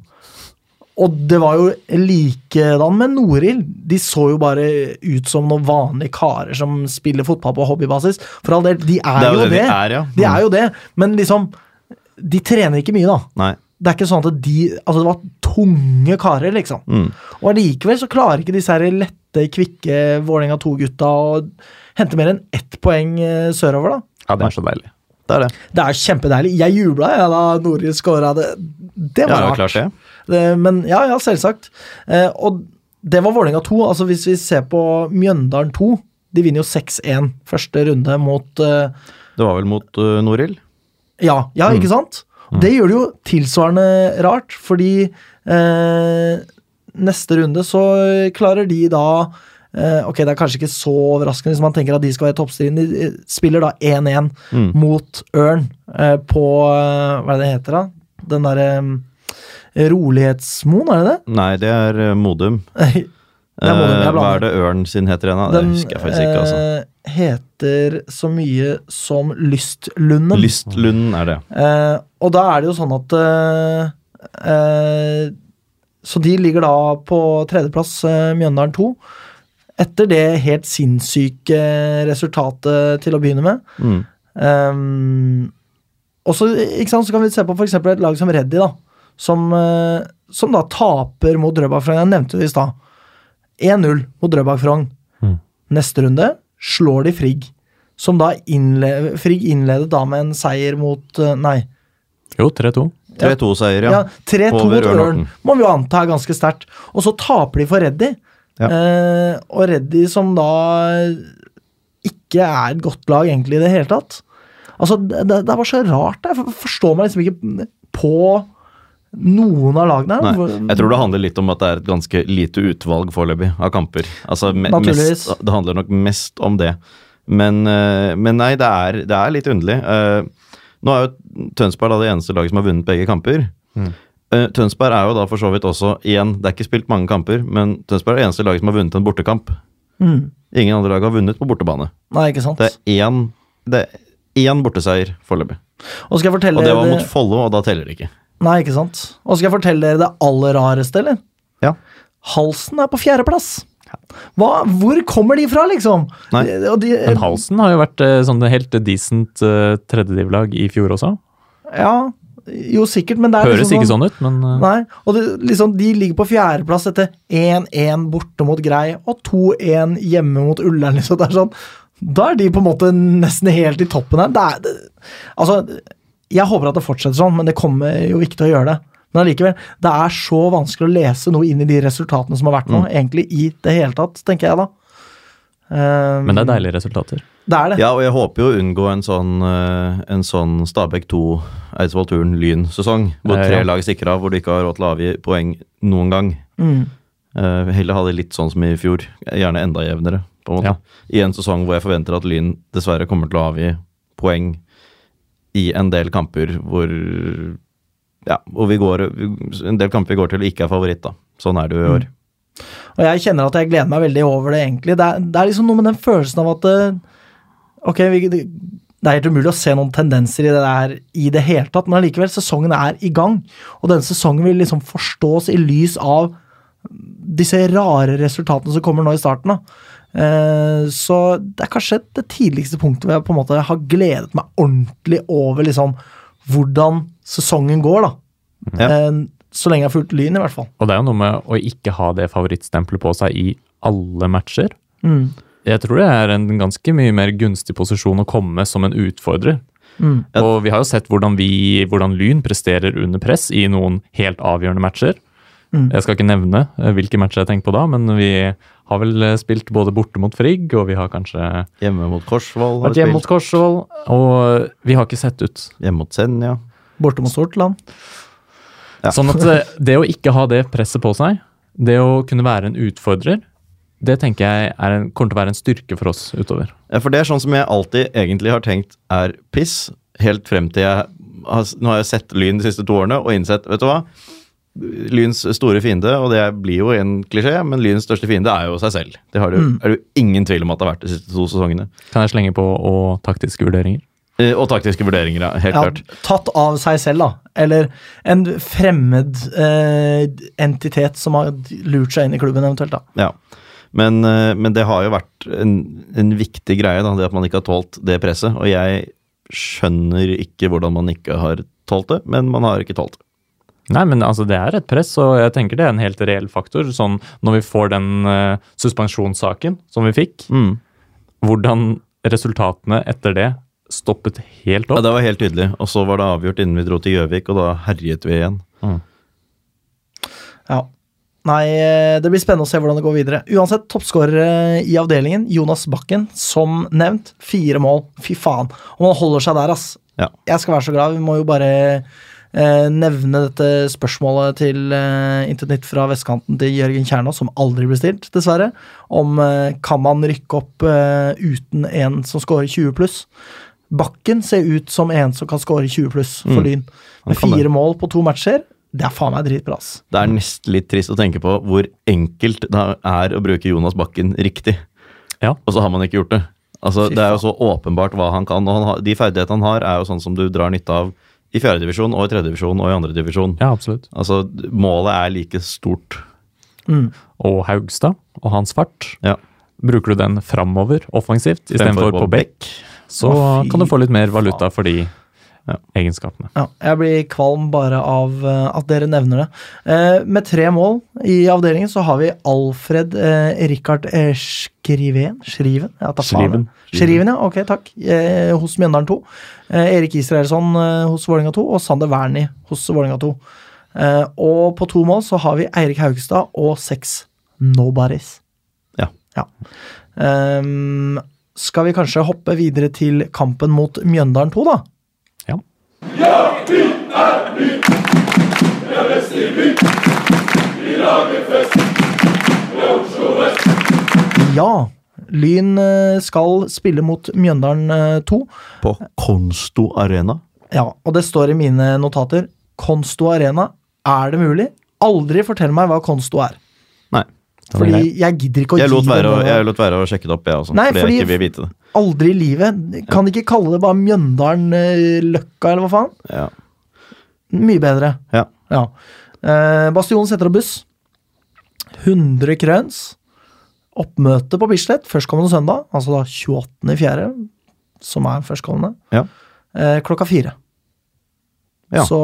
S1: Og det var jo likedan med Norild. De så jo bare ut som noen vanlige karer som spiller fotball på hobbybasis. For all del, de er, Mm. jo det.
S2: de er, ja.
S1: De er jo det, men liksom De trener ikke mye, da.
S2: Nei.
S1: Det er ikke sånn at de Altså, det var tunge karer, liksom.
S2: Mm.
S1: Og allikevel så klarer ikke disse her lette, kvikke Vålerenga 2-gutta å hente mer enn ett poeng eh, sørover, da.
S3: Ja, det er så deilig.
S2: Det er det.
S1: Det er kjempedeilig. Jeg jubla jeg, da Norild scora det. Det
S2: Ja,
S1: var
S2: det er
S1: rart.
S2: klart det.
S1: Det- Men ja, ja, selvsagt. Eh, og det var Vålerenga 2. Altså Hvis vi ser på Mjøndalen 2 De vinner jo 6-1 første runde mot eh,
S2: Det var vel mot uh, Noril?
S1: Ja, ja
S2: Mm.
S1: ikke sant? Det gjør det jo tilsvarende rart, fordi eh, neste runde så klarer de da eh, Ok, det er kanskje ikke så overraskende hvis man tenker at de skal være toppstriden. De eh, spiller da 1-1
S2: Mm.
S1: mot Ørn eh, på eh, Hva er det det heter, da? Den derre eh, Rolighetsmoen, er det det?
S2: Nei, det er uh, Modum.
S1: Det er Modum, jeg
S2: Eh, Hva
S1: blander.
S2: er det Ørn sin heter igjen? da? Det
S1: Den
S2: husker jeg faktisk ikke. altså.
S1: eh, heter så mye som Lystlunden.
S2: Lystlunden er det.
S1: Eh, og da er det jo sånn at eh, eh, Så de ligger da på tredjeplass, eh, Mjøndalen 2. Etter det helt sinnssyke resultatet til å begynne med.
S2: Mm.
S1: Ehm, og så, ikke sant, så kan vi se på f.eks. et lag som Reddy, da. Som, eh, som da taper mot Drøbak Frogn. Jeg nevnte det i stad. 1-0 mot Drøbak Frogn. Neste runde slår de Frigg. Som da innle Frigg innledet da med en seier mot eh, Nei.
S3: Jo, 3-2.
S2: 3-2-seier, ja.
S1: Ja, 3-2
S2: Over
S1: mot
S2: Ørn
S1: Ørn,
S2: Horten.
S1: må vi jo anta er ganske sterkt. Og så taper de for Reddy.
S2: Ja.
S1: Eh, og Reddy som da ikke er et godt lag egentlig i det hele tatt. Altså, det, det er bare så rart. Jeg for- forstår meg liksom ikke på noen av lagene her.
S2: Nei,
S1: Hvor-
S2: jeg tror det handler litt om at det er et ganske lite utvalg foreløpig av kamper. Altså, me mest,
S1: Naturligvis.
S2: det handler nok mest om det. Men, eh, men nei, det er, det er litt underlig. Eh, Nå er jo Tønsberg da det eneste laget som har vunnet begge kamper. Eh, Tønsberg er jo da for så vidt også igjen, det er ikke spilt mange kamper, men Tønsberg er det eneste laget som har vunnet en bortekamp.
S1: Mm.
S2: Ingen andre lag har vunnet på bortebane.
S1: Nei, ikke sant?
S2: Det er én, det er én borteseier foreløpig.
S1: og skal jeg fortelle
S2: Og det var
S1: dere-
S3: eh,
S2: mot Follo, og da teller det ikke.
S1: Nei, ikke sant? Og skal jeg fortelle dere det aller rareste, eller?
S2: Ja.
S1: Halsen er på fjerdeplass. Hva, hvor kommer de fra, liksom?
S2: Nei.
S1: De- og de-
S3: Men Halsen har jo vært eh, sånn helt decent eh, tredjedivlag i fjor også.
S1: Ja, Jo, sikkert, men det er
S3: Høres
S1: liksom
S3: ikke sånn ut, men eh,
S1: Nei, og det, liksom, De ligger på fjerdeplass etter 1-1 borte mot Grei og 2-1 hjemme mot Ullern. Liksom. Det er sånn, da er de på en måte nesten helt i toppen her. Det er, det, altså, jeg håper at det fortsetter sånn, men det kommer jo ikke til å gjøre det. Men allikevel, det er så vanskelig å lese noe inn i de resultatene som har vært
S3: Mm.
S1: nå. Egentlig i det hele tatt, tenker jeg da. Um,
S3: men det er deilige resultater.
S1: det er det.
S2: Ja, og jeg håper jo å unngå en sånn, eh, en sånn Stabæk 2, Eidsvoll Turn, Lyn-sesong, hvor
S3: Eh,
S2: tre
S3: ja.
S2: lag stikker av, hvor de ikke har råd til å avgi poeng noen gang.
S1: Mm.
S2: Eh, heller ha det litt sånn som i fjor, gjerne enda jevnere, på en måte.
S3: Ja.
S2: I en sesong hvor jeg forventer at Lyn dessverre kommer til å avgi poeng i en del kamper hvor Ja, hvor vi går En del kamper vi går til og ikke er favoritt, da. Sånn er det jo i år.
S3: Mm.
S1: Og jeg kjenner at jeg gleder meg veldig over det, egentlig. Det er, det er liksom noe med den følelsen av at eh, Ok, vi, det det er helt umulig å se noen tendenser i det der i det hele tatt, men allikevel, sesongen er i gang. Og denne sesongen vil liksom forstås i lys av disse rare resultatene som kommer nå i starten. da. Eh, Så det er kanskje det tidligste punktet hvor jeg på en måte har gledet meg ordentlig over liksom hvordan sesongen går, da.
S2: Ja.
S1: Eh, Så lenge jeg har fulgt Lyn, i hvert fall.
S3: Og det er jo noe med å ikke ha det favorittstempelet på seg i alle matcher.
S1: Mm.
S3: Jeg tror det er en ganske mye mer gunstig posisjon å komme som en utfordrer. Og vi har jo sett hvordan, vi, hvordan Lyn presterer under press i noen helt avgjørende matcher. Jeg skal ikke nevne eh, hvilke matcher jeg tenker på da, men vi har vel eh, spilt både borte mot Frigg, og vi har kanskje
S2: Hjemme mot Korsvoll, har
S3: vært
S2: vi
S3: hjemme mot
S2: spilt.
S3: Korsvoll, og vi har ikke sett ut.
S2: Hjemme mot Senja.
S1: Borte mot Sortland.
S2: Ja.
S3: Sånn at eh, det å ikke ha det presset på seg, det å kunne være en utfordrer, det tenker jeg er en, kommer til å være en styrke for oss utover.
S2: Ja, for det er sånn som jeg alltid egentlig har tenkt er piss, helt frem til jeg har, Nå har jeg sett Lyn de siste to årene og innsett, vet du hva Lyns store fiende, og det blir jo en klisjé, men Lyns største fiende er jo seg selv. Det har det, jo- er det jo ingen tvil om at det har vært de siste to sesongene.
S3: Kan jeg slenge på og taktiske vurderinger?
S2: Eh, Og taktiske vurderinger, ja, helt klart.
S1: Ja, tatt av seg selv, da. Eller en fremmed eh, entitet som har lurt seg inn i klubben, eventuelt. da.
S2: Ja. Men, eh, men det har jo vært en, en viktig greie, da, det at man ikke har tålt det presset. Og jeg skjønner ikke hvordan man ikke har tålt det, men man har ikke tålt det.
S3: Nei, men altså det er et press, og jeg tenker det er en helt reell faktor. Sånn når vi får den eh, suspensjonssaken som vi fikk,
S2: Mm.
S3: hvordan resultatene etter det stoppet helt
S2: Ja,
S3: opp.
S2: det var helt tydelig. Og så var det avgjort innen vi dro til Gjøvik, og da herjet vi igjen.
S1: Ja. Nei, eh, det blir spennende å se hvordan det går videre. Uansett, toppskårer i avdelingen, Jonas Bakken, som nevnt. Fire mål. Fy faen. Og man holder seg der, ass.
S2: Ja.
S1: Jeg skal være så glad. Vi må jo bare eh, nevne dette spørsmålet til eh, Intet nytt fra vestkanten til Jørgen Kjernås, som aldri blir stilt, dessverre, om eh, kan man rykke opp eh, uten en som scorer 20 pluss. Bakken ser ut som en som kan score 20 pluss for Lyn. Med
S2: Mm. kan det.
S1: fire mål på to matcher. Det er faen meg dritbra, ass.
S2: Det er nesten litt trist å tenke på hvor enkelt det er å bruke Jonas Bakken riktig.
S3: Ja.
S2: Og så har man ikke gjort det. Altså,
S1: Fy
S2: det er jo så åpenbart hva han kan. Og han har, de ferdighetene han har, er jo sånn som du drar nytte av i fjerdedivisjon og i tredjedivisjon og i andredivisjon.
S3: Ja, absolutt.
S2: Altså, målet er like stort.
S3: Og Haugstad og hans fart.
S2: Ja.
S3: Bruker du den framover offensivt istedenfor på bekk, så
S1: Å, fy
S3: kan du få litt mer valuta for de egenskapene.
S1: Ja, jeg blir kvalm bare av eh, at dere nevner det. Eh, med tre mål i avdelingen så har vi Alfred eh, Rikard eh, Skriven Skriven? Ja, ta faen.
S3: Skriven.
S1: Skriven, ja. Ok, takk. Eh, hos Mjøndalen 2. Eh, Erik Israelsson eh, hos Vålerenga 2 og Sander Wernie hos Vålerenga 2. Eh, og på to mål så har vi Eirik Haugstad og seks nobodies.
S2: Ja.
S1: Ja. Ehm, skal vi kanskje hoppe videre til kampen mot Mjøndalen 2, da?
S3: Ja.
S1: Ja. Lyn eh, skal spille mot Mjøndalen eh, 2.
S2: På Konsto Arena.
S1: Ja, og det står i mine notater. Konsto Arena, er det mulig? Aldri fortell meg hva Konsto er.
S2: Nei.
S1: Fordi jeg gidder ikke å
S2: Jeg lot,
S1: gi
S2: være å,
S1: dem
S2: jeg
S1: noe.
S2: lot være å sjekke det opp, jeg også.
S1: Nei,
S2: fordi,
S1: fordi-
S2: jeg ikke vil vite det.
S1: Aldri i livet. Kan ikke kalle det bare Mjøndalen eh, Løkka, eller hva faen?
S2: Ja.
S1: Mye bedre.
S2: ja.
S1: Ja. Eh, Bastionen setter opp buss. 100 krøns. Oppmøte på Bislett førstkommende søndag, altså da 28.4., som er førstkommende,
S2: ja.
S1: eh, klokka fire.
S2: Ja.
S1: Så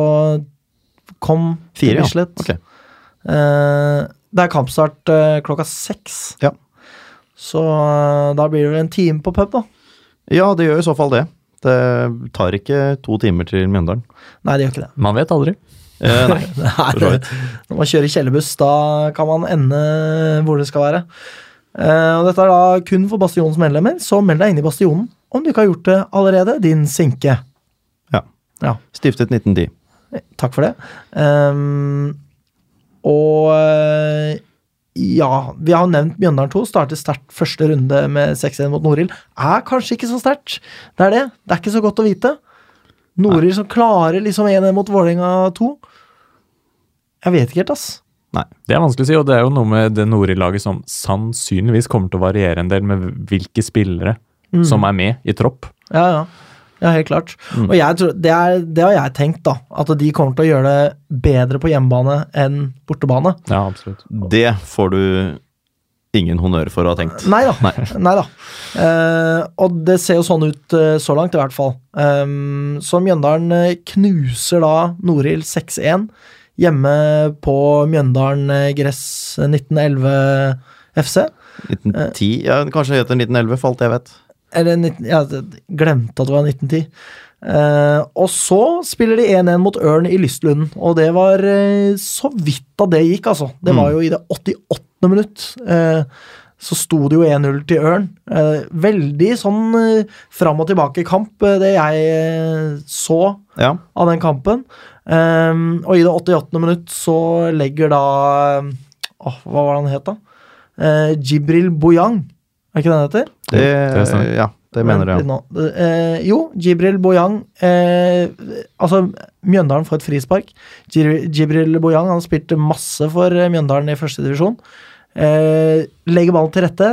S1: kom til
S2: Fire, ja.
S1: Bislett.
S2: Ok.
S1: Eh, det er kampstart eh, klokka seks.
S2: Ja.
S1: Så eh, da blir det vel en time på pub, da.
S2: Ja, det gjør i så fall det. Det tar ikke to timer til Mjøndalen.
S1: Nei, det gjør ikke det.
S3: Man vet aldri.
S2: Eh, nei.
S1: Nei,
S2: For så
S1: det, når man kjører kjellerbuss, da kan man ende hvor det skal være. Eh, og Dette er da kun for Bastionens medlemmer, så meld deg inn i Bastionen om du ikke har gjort det allerede, din sinke.
S2: Ja.
S1: Ja.
S2: Stiftet 1910.
S1: Takk for det. Ehm, og eh, ja, vi har jo nevnt Mjøndalen 2. Startet sterkt første runde med 6-1 mot Norild. Er kanskje ikke så sterkt. Det er det. Det er ikke så godt å vite. Norild som klarer liksom 1-1 mot Vålerenga 2. Jeg vet ikke helt, ass.
S3: Det er vanskelig å si, og det er jo noe med det Nori-laget som sannsynligvis kommer til å variere en del med hvilke spillere som er med i tropp.
S1: Ja, ja. Ja, helt klart. Og jeg tror, det, er, det har jeg tenkt, da. At de kommer til å gjøre det bedre på hjemmebane enn bortebane.
S3: Ja, absolutt.
S2: Det får du ingen honnør for å ha tenkt.
S1: Nei da. Nei da. Eh, og det ser jo sånn ut eh, så langt, i hvert fall. Um, så Mjøndalen eh, knuser da Norild 6-1 hjemme på Mjøndalen eh, gress 1911 FC.
S2: 1910? Ja, kanskje det heter 1911, for alt jeg vet.
S1: Eller 19, jeg glemte at det var 1910. Eh, og så spiller de 1-1 mot Ørn i Lystlunden, og det var eh, så vidt av det gikk, altså. Det var jo i det 88. minutt. eh, så sto det jo 1-0 til Ørn. Eh, veldig sånn eh, fram og tilbake-kamp, eh, det jeg eh, så
S2: Ja.
S1: av den kampen. Ehm, og i det 88. minutt så legger da eh, åh, Hva var det han het, da? Eh, Jibril Boyang, er ikke det han heter?
S2: Det,
S3: det stemmer.
S2: ja, det mener
S1: Vent
S2: jeg.
S1: litt nå. Eh, jo, Jibril Boyang eh, Altså, Mjøndalen får et frispark. Jir- Jibril Boyang han spilte masse for eh, Mjøndalen i første divisjon. Eh, legger ballen til rette,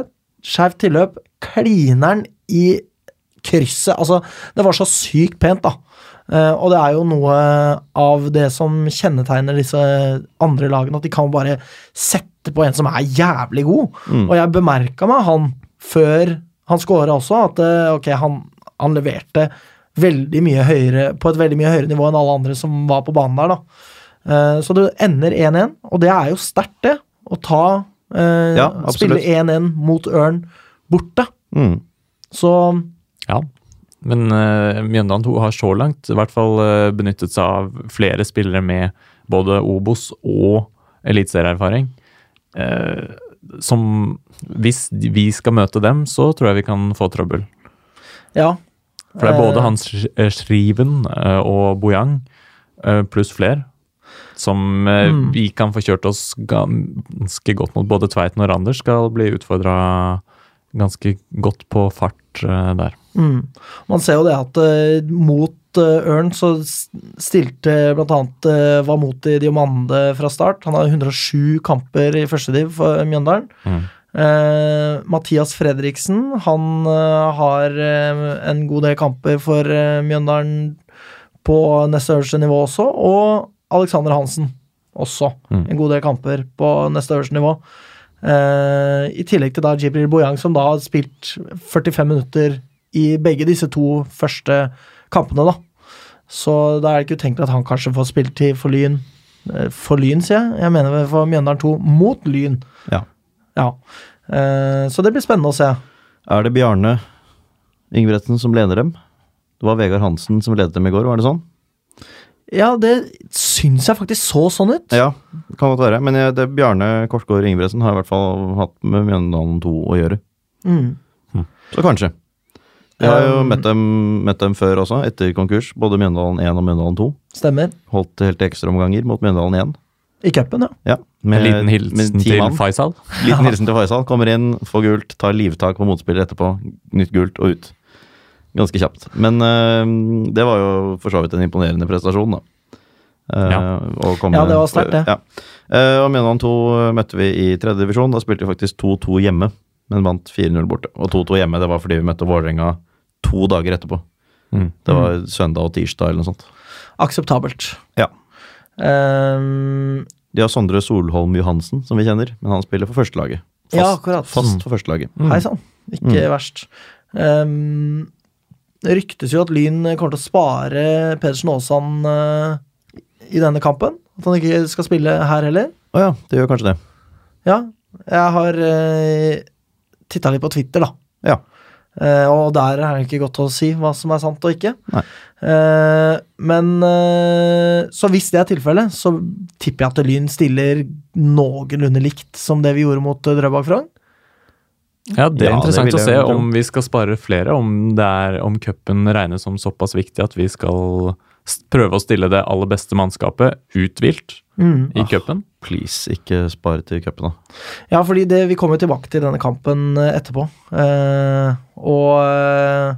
S1: skjevt tilløp, kliner den i krysset. Altså, det var så sykt pent, da. Eh, og det er jo noe av det som kjennetegner disse andre lagene, at de kan bare sette på en som er jævlig god.
S2: Mm.
S1: Og jeg bemerka meg han før han scora også, at eh, ok, han, han leverte veldig mye høyere, på et veldig mye høyere nivå enn alle andre som var på banen der, da. Eh, så det ender 1-1, og det er jo sterkt, det. Å ta eh,
S2: Ja, absolutt.
S1: Spille 1-1 mot Ørn borte.
S2: Mm.
S1: Så
S3: Ja. Men eh, Mjøndalen 2 har så langt i hvert fall eh, benyttet seg av flere spillere med både Obos og eliteserieerfaring. Eh, som Hvis vi skal møte dem, så tror jeg vi kan få trøbbel.
S1: ja.
S3: For det er
S1: Eh.
S3: både Hans Sch- eh, Schriven eh, og Bojang, eh, pluss flere, som eh,
S2: Mm.
S3: vi kan få kjørt oss ganske godt mot. Både Tveiten og Randers skal bli utfordra ganske godt på fart eh, der.
S1: Mm. Man ser jo det at eh, mot eh, Ørn så s- stilte blant annet eh, Vamoti Diomande fra start. Han har 107 kamper i første div for Mjøndalen.
S3: Mm.
S1: Eh, Mathias Fredriksen, han eh, har eh, en god del kamper for eh, Mjøndalen på neste øverste nivå også, og Alexander Hansen også.
S3: Mm.
S1: En god del kamper på neste øverste nivå. Eh, I tillegg til da Jibril Boyang, som da har spilt 45 minutter i begge disse to første kampene, da. Så da er det ikke utenkelig at han kanskje får spilletid for Lyn. Eh, For Lyn, sier jeg. Jeg mener vel for Mjøndalen 2 mot Lyn.
S2: Ja.
S1: Ja. Eh, så det blir spennende å se.
S2: Er det Bjarne Ingebretsen som leder dem? Det var Vegard Hansen som ledet dem i går, var det sånn?
S1: Ja, det syns jeg faktisk så sånn ut.
S2: Ja, det kan godt være. Men jeg, det, Bjarne Korsgaard Ingebretsen har i hvert fall hatt med Mjøndalen 2 å gjøre.
S1: Mm.
S3: Hm.
S2: Så kanskje. Jeg har jo
S1: Um,
S2: møtt dem, møtt dem før også, etter konkurs. Både Mjøndalen 1 og Mjøndalen 2.
S1: Stemmer.
S2: Holdt helt til ekstraomganger mot Mjøndalen 1.
S1: I cupen, ja.
S2: Ja,
S3: En
S2: med-
S3: liten
S2: med
S3: hilsen
S2: ti
S3: til
S2: mann.
S3: Faisal.
S2: Liten hilsen til Faisal. Kommer inn, får gult, tar livtak på motspiller etterpå. Nytt gult og ut. Ganske kjapt. Men eh, det var jo for så vidt en imponerende prestasjon, da. Eh,
S3: Ja.
S2: å komme-
S1: Ja, det var sterkt, det.
S2: Ja. Eh, og Mjøndalen 2 møtte vi i tredje divisjon. Da spilte vi faktisk 2-2 hjemme, men vant 4-0 borte. Og 2-2 hjemme det var fordi vi møtte Vålerenga to dager etterpå.
S3: Mm.
S2: Det var søndag og tirsdag eller noe sånt.
S1: Akseptabelt.
S2: Ja.
S1: Ehm,
S2: De har Sondre Solholm Johansen, som vi kjenner, men han spiller for førstelaget.
S1: ja, akkurat. Mm.
S2: Fast for førstelaget.
S1: Hei sann. Ikke verst. Ehm, Eh, ryktes jo at Lyn kommer til å spare Pedersen Aasand eh, i denne kampen. At han ikke skal spille her heller.
S2: Å ja, det gjør kanskje det.
S1: Ja, jeg har uh, titta litt på Twitter, da.
S2: Ja.
S1: Eh, og der er det ikke godt å si hva som er sant og ikke.
S2: Nei.
S1: Eh, men eh, Så hvis det er tilfellet, så tipper jeg at Lyn stiller noenlunde likt som det vi gjorde mot eh, Drøbak Frogn.
S3: Ja, det er
S2: Ja, det
S3: interessant
S2: vil
S3: å
S2: jeg
S3: se
S2: jo tro.
S3: om vi skal spare flere, om det er om cupen regnes som såpass viktig at vi skal s- prøve å stille det aller beste mannskapet uthvilt
S2: Mm. Ah.
S3: i cupen.
S2: Please, ikke spare til cupen, da.
S1: Ja, fordi det, vi kommer jo tilbake til denne kampen eh, etterpå. Eh, og eh,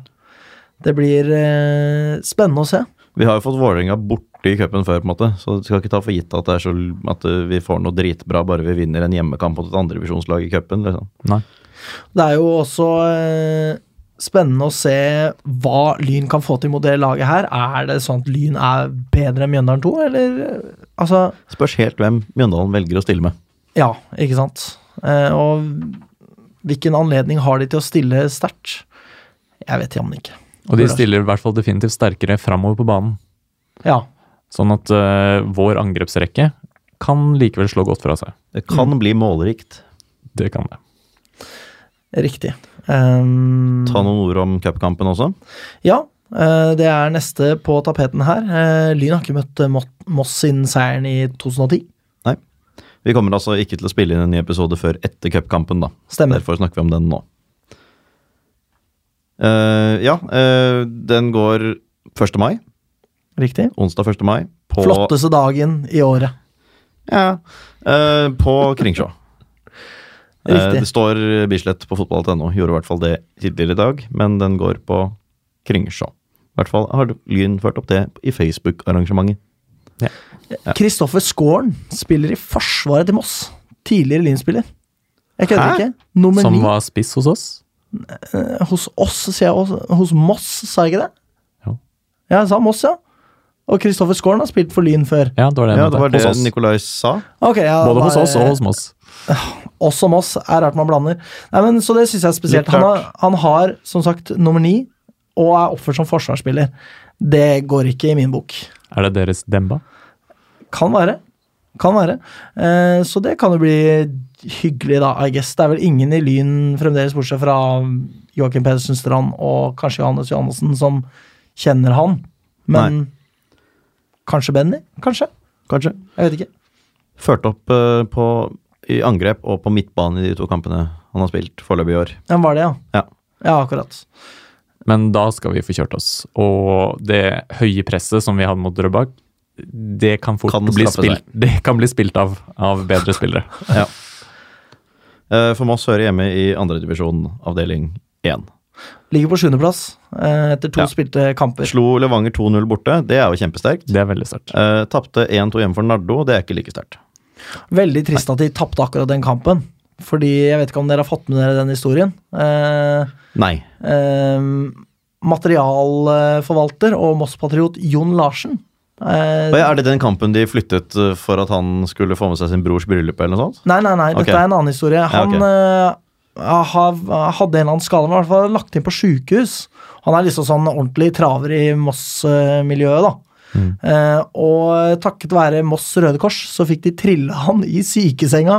S1: det blir eh, spennende å se.
S2: Vi har jo fått Vålerenga borte i cupen før, på en måte, så du skal ikke ta for gitt at, det er så, at eh, vi får noe dritbra bare vi vinner en hjemmekamp mot et andrevisjonslag i cupen. Liksom.
S3: Nei.
S1: Det er jo også eh, spennende å se hva Lyn kan få til mot det laget her. Er det sånn at Lyn er bedre enn Mjøndalen 2, eller eh, Altså,
S2: Spørs helt hvem Mjøndalen velger å stille med.
S1: ja, ikke sant? Eh, og hvilken anledning har de til å stille sterkt? Jeg vet jammen ikke.
S3: Og de stiller i hvert fall definitivt sterkere framover på banen.
S1: Ja.
S3: Sånn at eh, vår angrepsrekke kan likevel slå godt fra seg.
S2: Det kan bli målrikt.
S3: Det kan det.
S1: Riktig. Um,
S2: Ta noen ord om cupkampen også.
S1: Ja, eh, det er neste på tapeten her. Eh, Lyn har ikke møtt eh, Mo- Moss siden seieren i 2010.
S2: Nei. Vi kommer altså ikke til å spille inn en ny episode før etter cupkampen, da.
S1: Stemmer.
S2: Derfor snakker vi om den nå. Eh, ja, eh, den går 1. mai.
S1: Riktig.
S2: Onsdag 1. mai. På,
S1: Flotteste dagen i året.
S2: Ja, eh, på Kringsjå. Eh,
S1: Riktig.
S2: det står eh, Bislett på fotball.no. Gjorde i hvert fall det tidligere i dag, men den går på Kringsjå. I hvert fall har Lyn ført opp det i Facebook-arrangementet.
S1: Kristoffer Skåren spiller i forsvaret til Moss. Tidligere Lyn-spiller. Jeg
S2: Hæ?
S1: kødder ikke. Nummer
S3: Som
S1: ni
S3: var spiss hos oss.
S1: hos oss, sier jeg også. Hos Moss, sa jeg ikke det?
S3: Jo.
S1: Ja, jeg sa Moss, ja. Og Kristoffer Skåren har spilt for Lyn før.
S3: Ja, det var det. jeg
S2: Ja, det
S3: mente.
S2: var det
S3: hos oss.
S2: Nikolai sa.
S1: Ok, ja,
S3: Både hos
S1: bare-
S3: oss og hos Moss.
S1: oss som oss, er rart man blander. Nei, men, så det syns jeg er spesielt.
S2: Litt
S1: Han har,
S2: rart.
S1: han har som sagt nummer ni og er oppført som forsvarsspiller. Det går ikke i min bok.
S3: Er det deres Demba?
S1: Kan være. Kan være. Eh, så det kan jo bli hyggelig, da, I guess. Det er vel ingen i Lyn fremdeles, bortsett fra Joakim Pedersen Strand og kanskje Johannes Johannessen, som kjenner han. Men kanskje Benny? Kanskje?
S2: Kanskje.
S1: Jeg vet ikke.
S2: Ført opp eh, på, i angrep og på midtbanen i de to kampene han har spilt foreløpig i år.
S1: Ja, var det, ja.
S2: Ja.
S1: Ja, akkurat.
S3: Men da skal vi få kjørt oss. Og det høye presset som vi hadde mot Drøbak, det kan fort
S2: Kan
S3: bli,
S2: straffe seg.
S3: spilt, det kan bli spilt av av bedre spillere.
S2: Ja. Eh, For Moss hører hjemme i andredivisjon, avdeling 1.
S1: Ligger på sjuendeplass eh, etter to
S2: Ja.
S1: spilte kamper.
S2: Slo Levanger 2-0 borte, det er jo kjempesterkt.
S3: Det er veldig sterkt.
S2: Uh, Tapte 1-2 hjemme for Nardo, det er ikke like sterkt.
S1: Veldig trist at de tapte akkurat den kampen. Fordi jeg vet ikke om dere har fått med dere den historien. Eh,
S2: Nei.
S1: eh, materialforvalter og Moss-patriot Jon Larsen. Eh,
S2: Og ja, er det den kampen de flyttet eh, for at han skulle få med seg sin brors bryllup eller noe sånt?
S1: Nei, nei, nei, dette
S2: Ok.
S1: er en annen historie. Han
S2: ok.
S1: eh, har, hadde en eller annen skade, men i hvert fall lagt inn på sjukehus. Han er liksom sånn ordentlig traver i Moss-miljøet, da.
S2: Mm.
S1: Eh, og takket være Moss Røde Kors så fikk de trilla han i sykesenga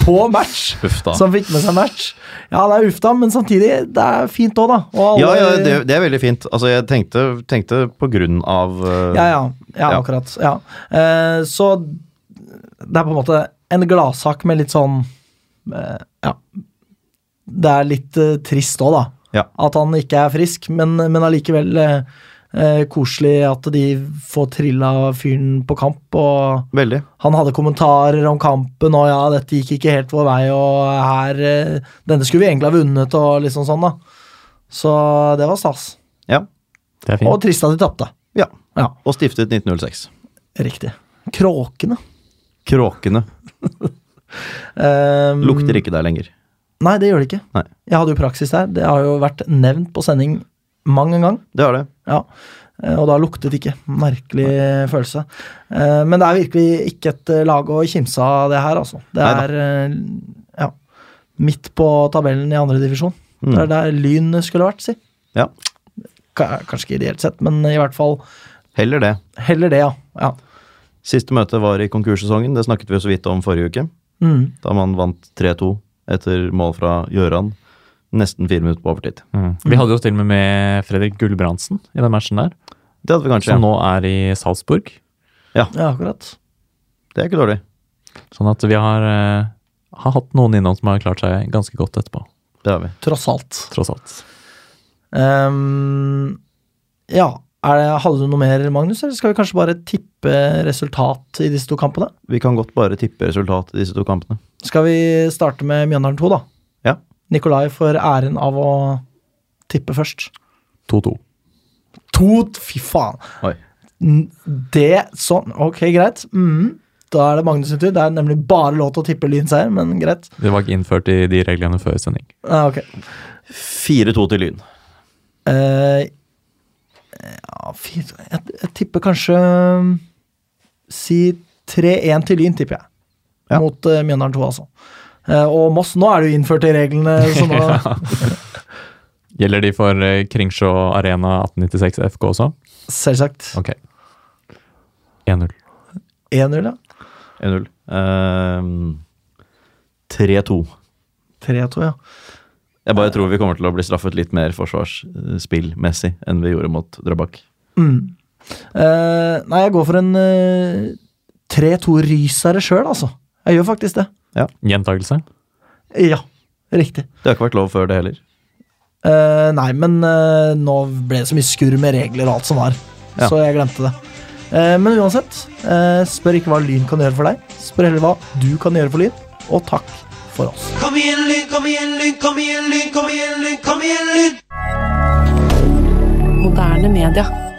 S1: på match!
S2: Uff da.
S1: Så han fikk med seg match. Ja, det er uff da, men samtidig, det er fint òg, da. Og alle-
S2: Ja, ja, det, det er veldig fint. Altså, jeg tenkte, tenkte på grunn av eh,
S1: ja, ja, ja,
S2: Ja.
S1: akkurat. Ja. Eh, så det er på en måte en gladsak med litt sånn eh, Ja. Det er litt eh, trist òg, da.
S2: Ja.
S1: At han ikke er frisk, men, men allikevel eh, eh, koselig at de får trilla fyren på kamp. og...
S2: Veldig.
S1: Han hadde kommentarer om kampen og ja, dette gikk ikke helt vår vei og her eh, Denne skulle vi egentlig ha vunnet og liksom sånn, da. Så det var stas.
S2: Ja.
S3: Det er
S1: Og
S3: fint.
S1: trist at de tapte.
S2: ja.
S1: Ja,
S2: Og stiftet 1906.
S1: riktig. Kråkene.
S2: Kråkene
S1: Um,
S2: lukter ikke der lenger.
S1: Nei, det gjør de ikke.
S2: Nei.
S1: Jeg hadde jo praksis der. Det har jo vært nevnt på sending mang en gang.
S2: Det har det.
S1: Ja. Eh, Og da luktet ikke. Merkelig følelse. Eh, Men det er virkelig ikke et eh, lag å kimse av, det her, altså. Det
S2: Neida.
S1: er eh, ja, Mm. midt på tabellen i andredivisjon. Det er der Lyn skulle vært, si.
S2: Ja.
S1: ka- kanskje ikke ideelt sett, men i hvert fall
S2: Heller det.
S1: heller det, ja. ja.
S2: Siste møte var i konkurssesongen. Det snakket vi jo så vidt om forrige uke.
S1: Mm.
S2: Da man vant 3-2 etter mål fra Gjøran. Nesten fire minutter på overtid.
S3: Mm. Vi hadde jo til og med med Fredrik Gulbrandsen i den matchen der,
S2: Det hadde vi kanskje.
S3: som nå er i Salzburg.
S1: ja, akkurat.
S2: Det er ikke dårlig.
S3: Sånn at vi har, eh, har hatt noen innom som har klart seg ganske godt etterpå,
S2: Det har vi.
S1: Tross alt.
S3: tross alt.
S1: Ehm, ja, er det, hadde du noe mer, Magnus, eller skal vi kanskje bare tippe resultat i disse to kampene?
S2: Vi kan godt bare tippe resultatet i disse to kampene.
S1: Skal vi starte med Mjøndalen 2, da?
S2: Ja.
S1: Nikolai får æren av å tippe først.
S3: 2-2.
S1: To Fy faen!
S2: Oi.
S1: N- Det Sånn, ok, greit. Mm. Da er det Magnus sin tur. Det er nemlig bare lov til å tippe lynseier, men greit.
S3: Det var ikke innført i de reglene før sending.
S1: Ja, ok.
S2: 4-2 til Lyn.
S1: Eh, ja, fy, jeg, jeg tipper kanskje um, Si 3-1 til Lyn, tipper jeg.
S2: Ja.
S1: Mot eh, Mjøndalen 2, altså. Eh, og Moss, nå er det jo innført i reglene, så nå
S3: Gjelder de for eh, Kringsjå Arena 1896 FK også?
S1: Selvsagt.
S3: Ok. 1-0.
S1: 1-0, ja.
S2: 1-0. Ehm, 3-2.
S1: 3-2, ja.
S2: Jeg bare tror vi kommer til å bli straffet litt mer forsvarsspillmessig enn vi gjorde mot Drøbak.
S1: Mm. Eh, nei, jeg går for en eh, 3-2-rysere sjøl, altså. Jeg gjør faktisk det.
S3: Gjentakelse?
S1: Ja, riktig.
S2: Det har ikke vært lov før det heller.
S1: Eh, nei, men eh, nå ble det så mye skurr med regler og alt som var,
S2: Ja.
S1: så jeg glemte det. Eh, men uansett, eh, spør ikke hva Lyn kan gjøre for deg, spør heller hva du kan gjøre for Lyn, og takk for oss.
S5: Kom igjen, Lyn, kom igjen, Lyn, kom igjen, Lyn, kom igjen, Lyn, kom igjen, Lyn!
S7: Moderne media.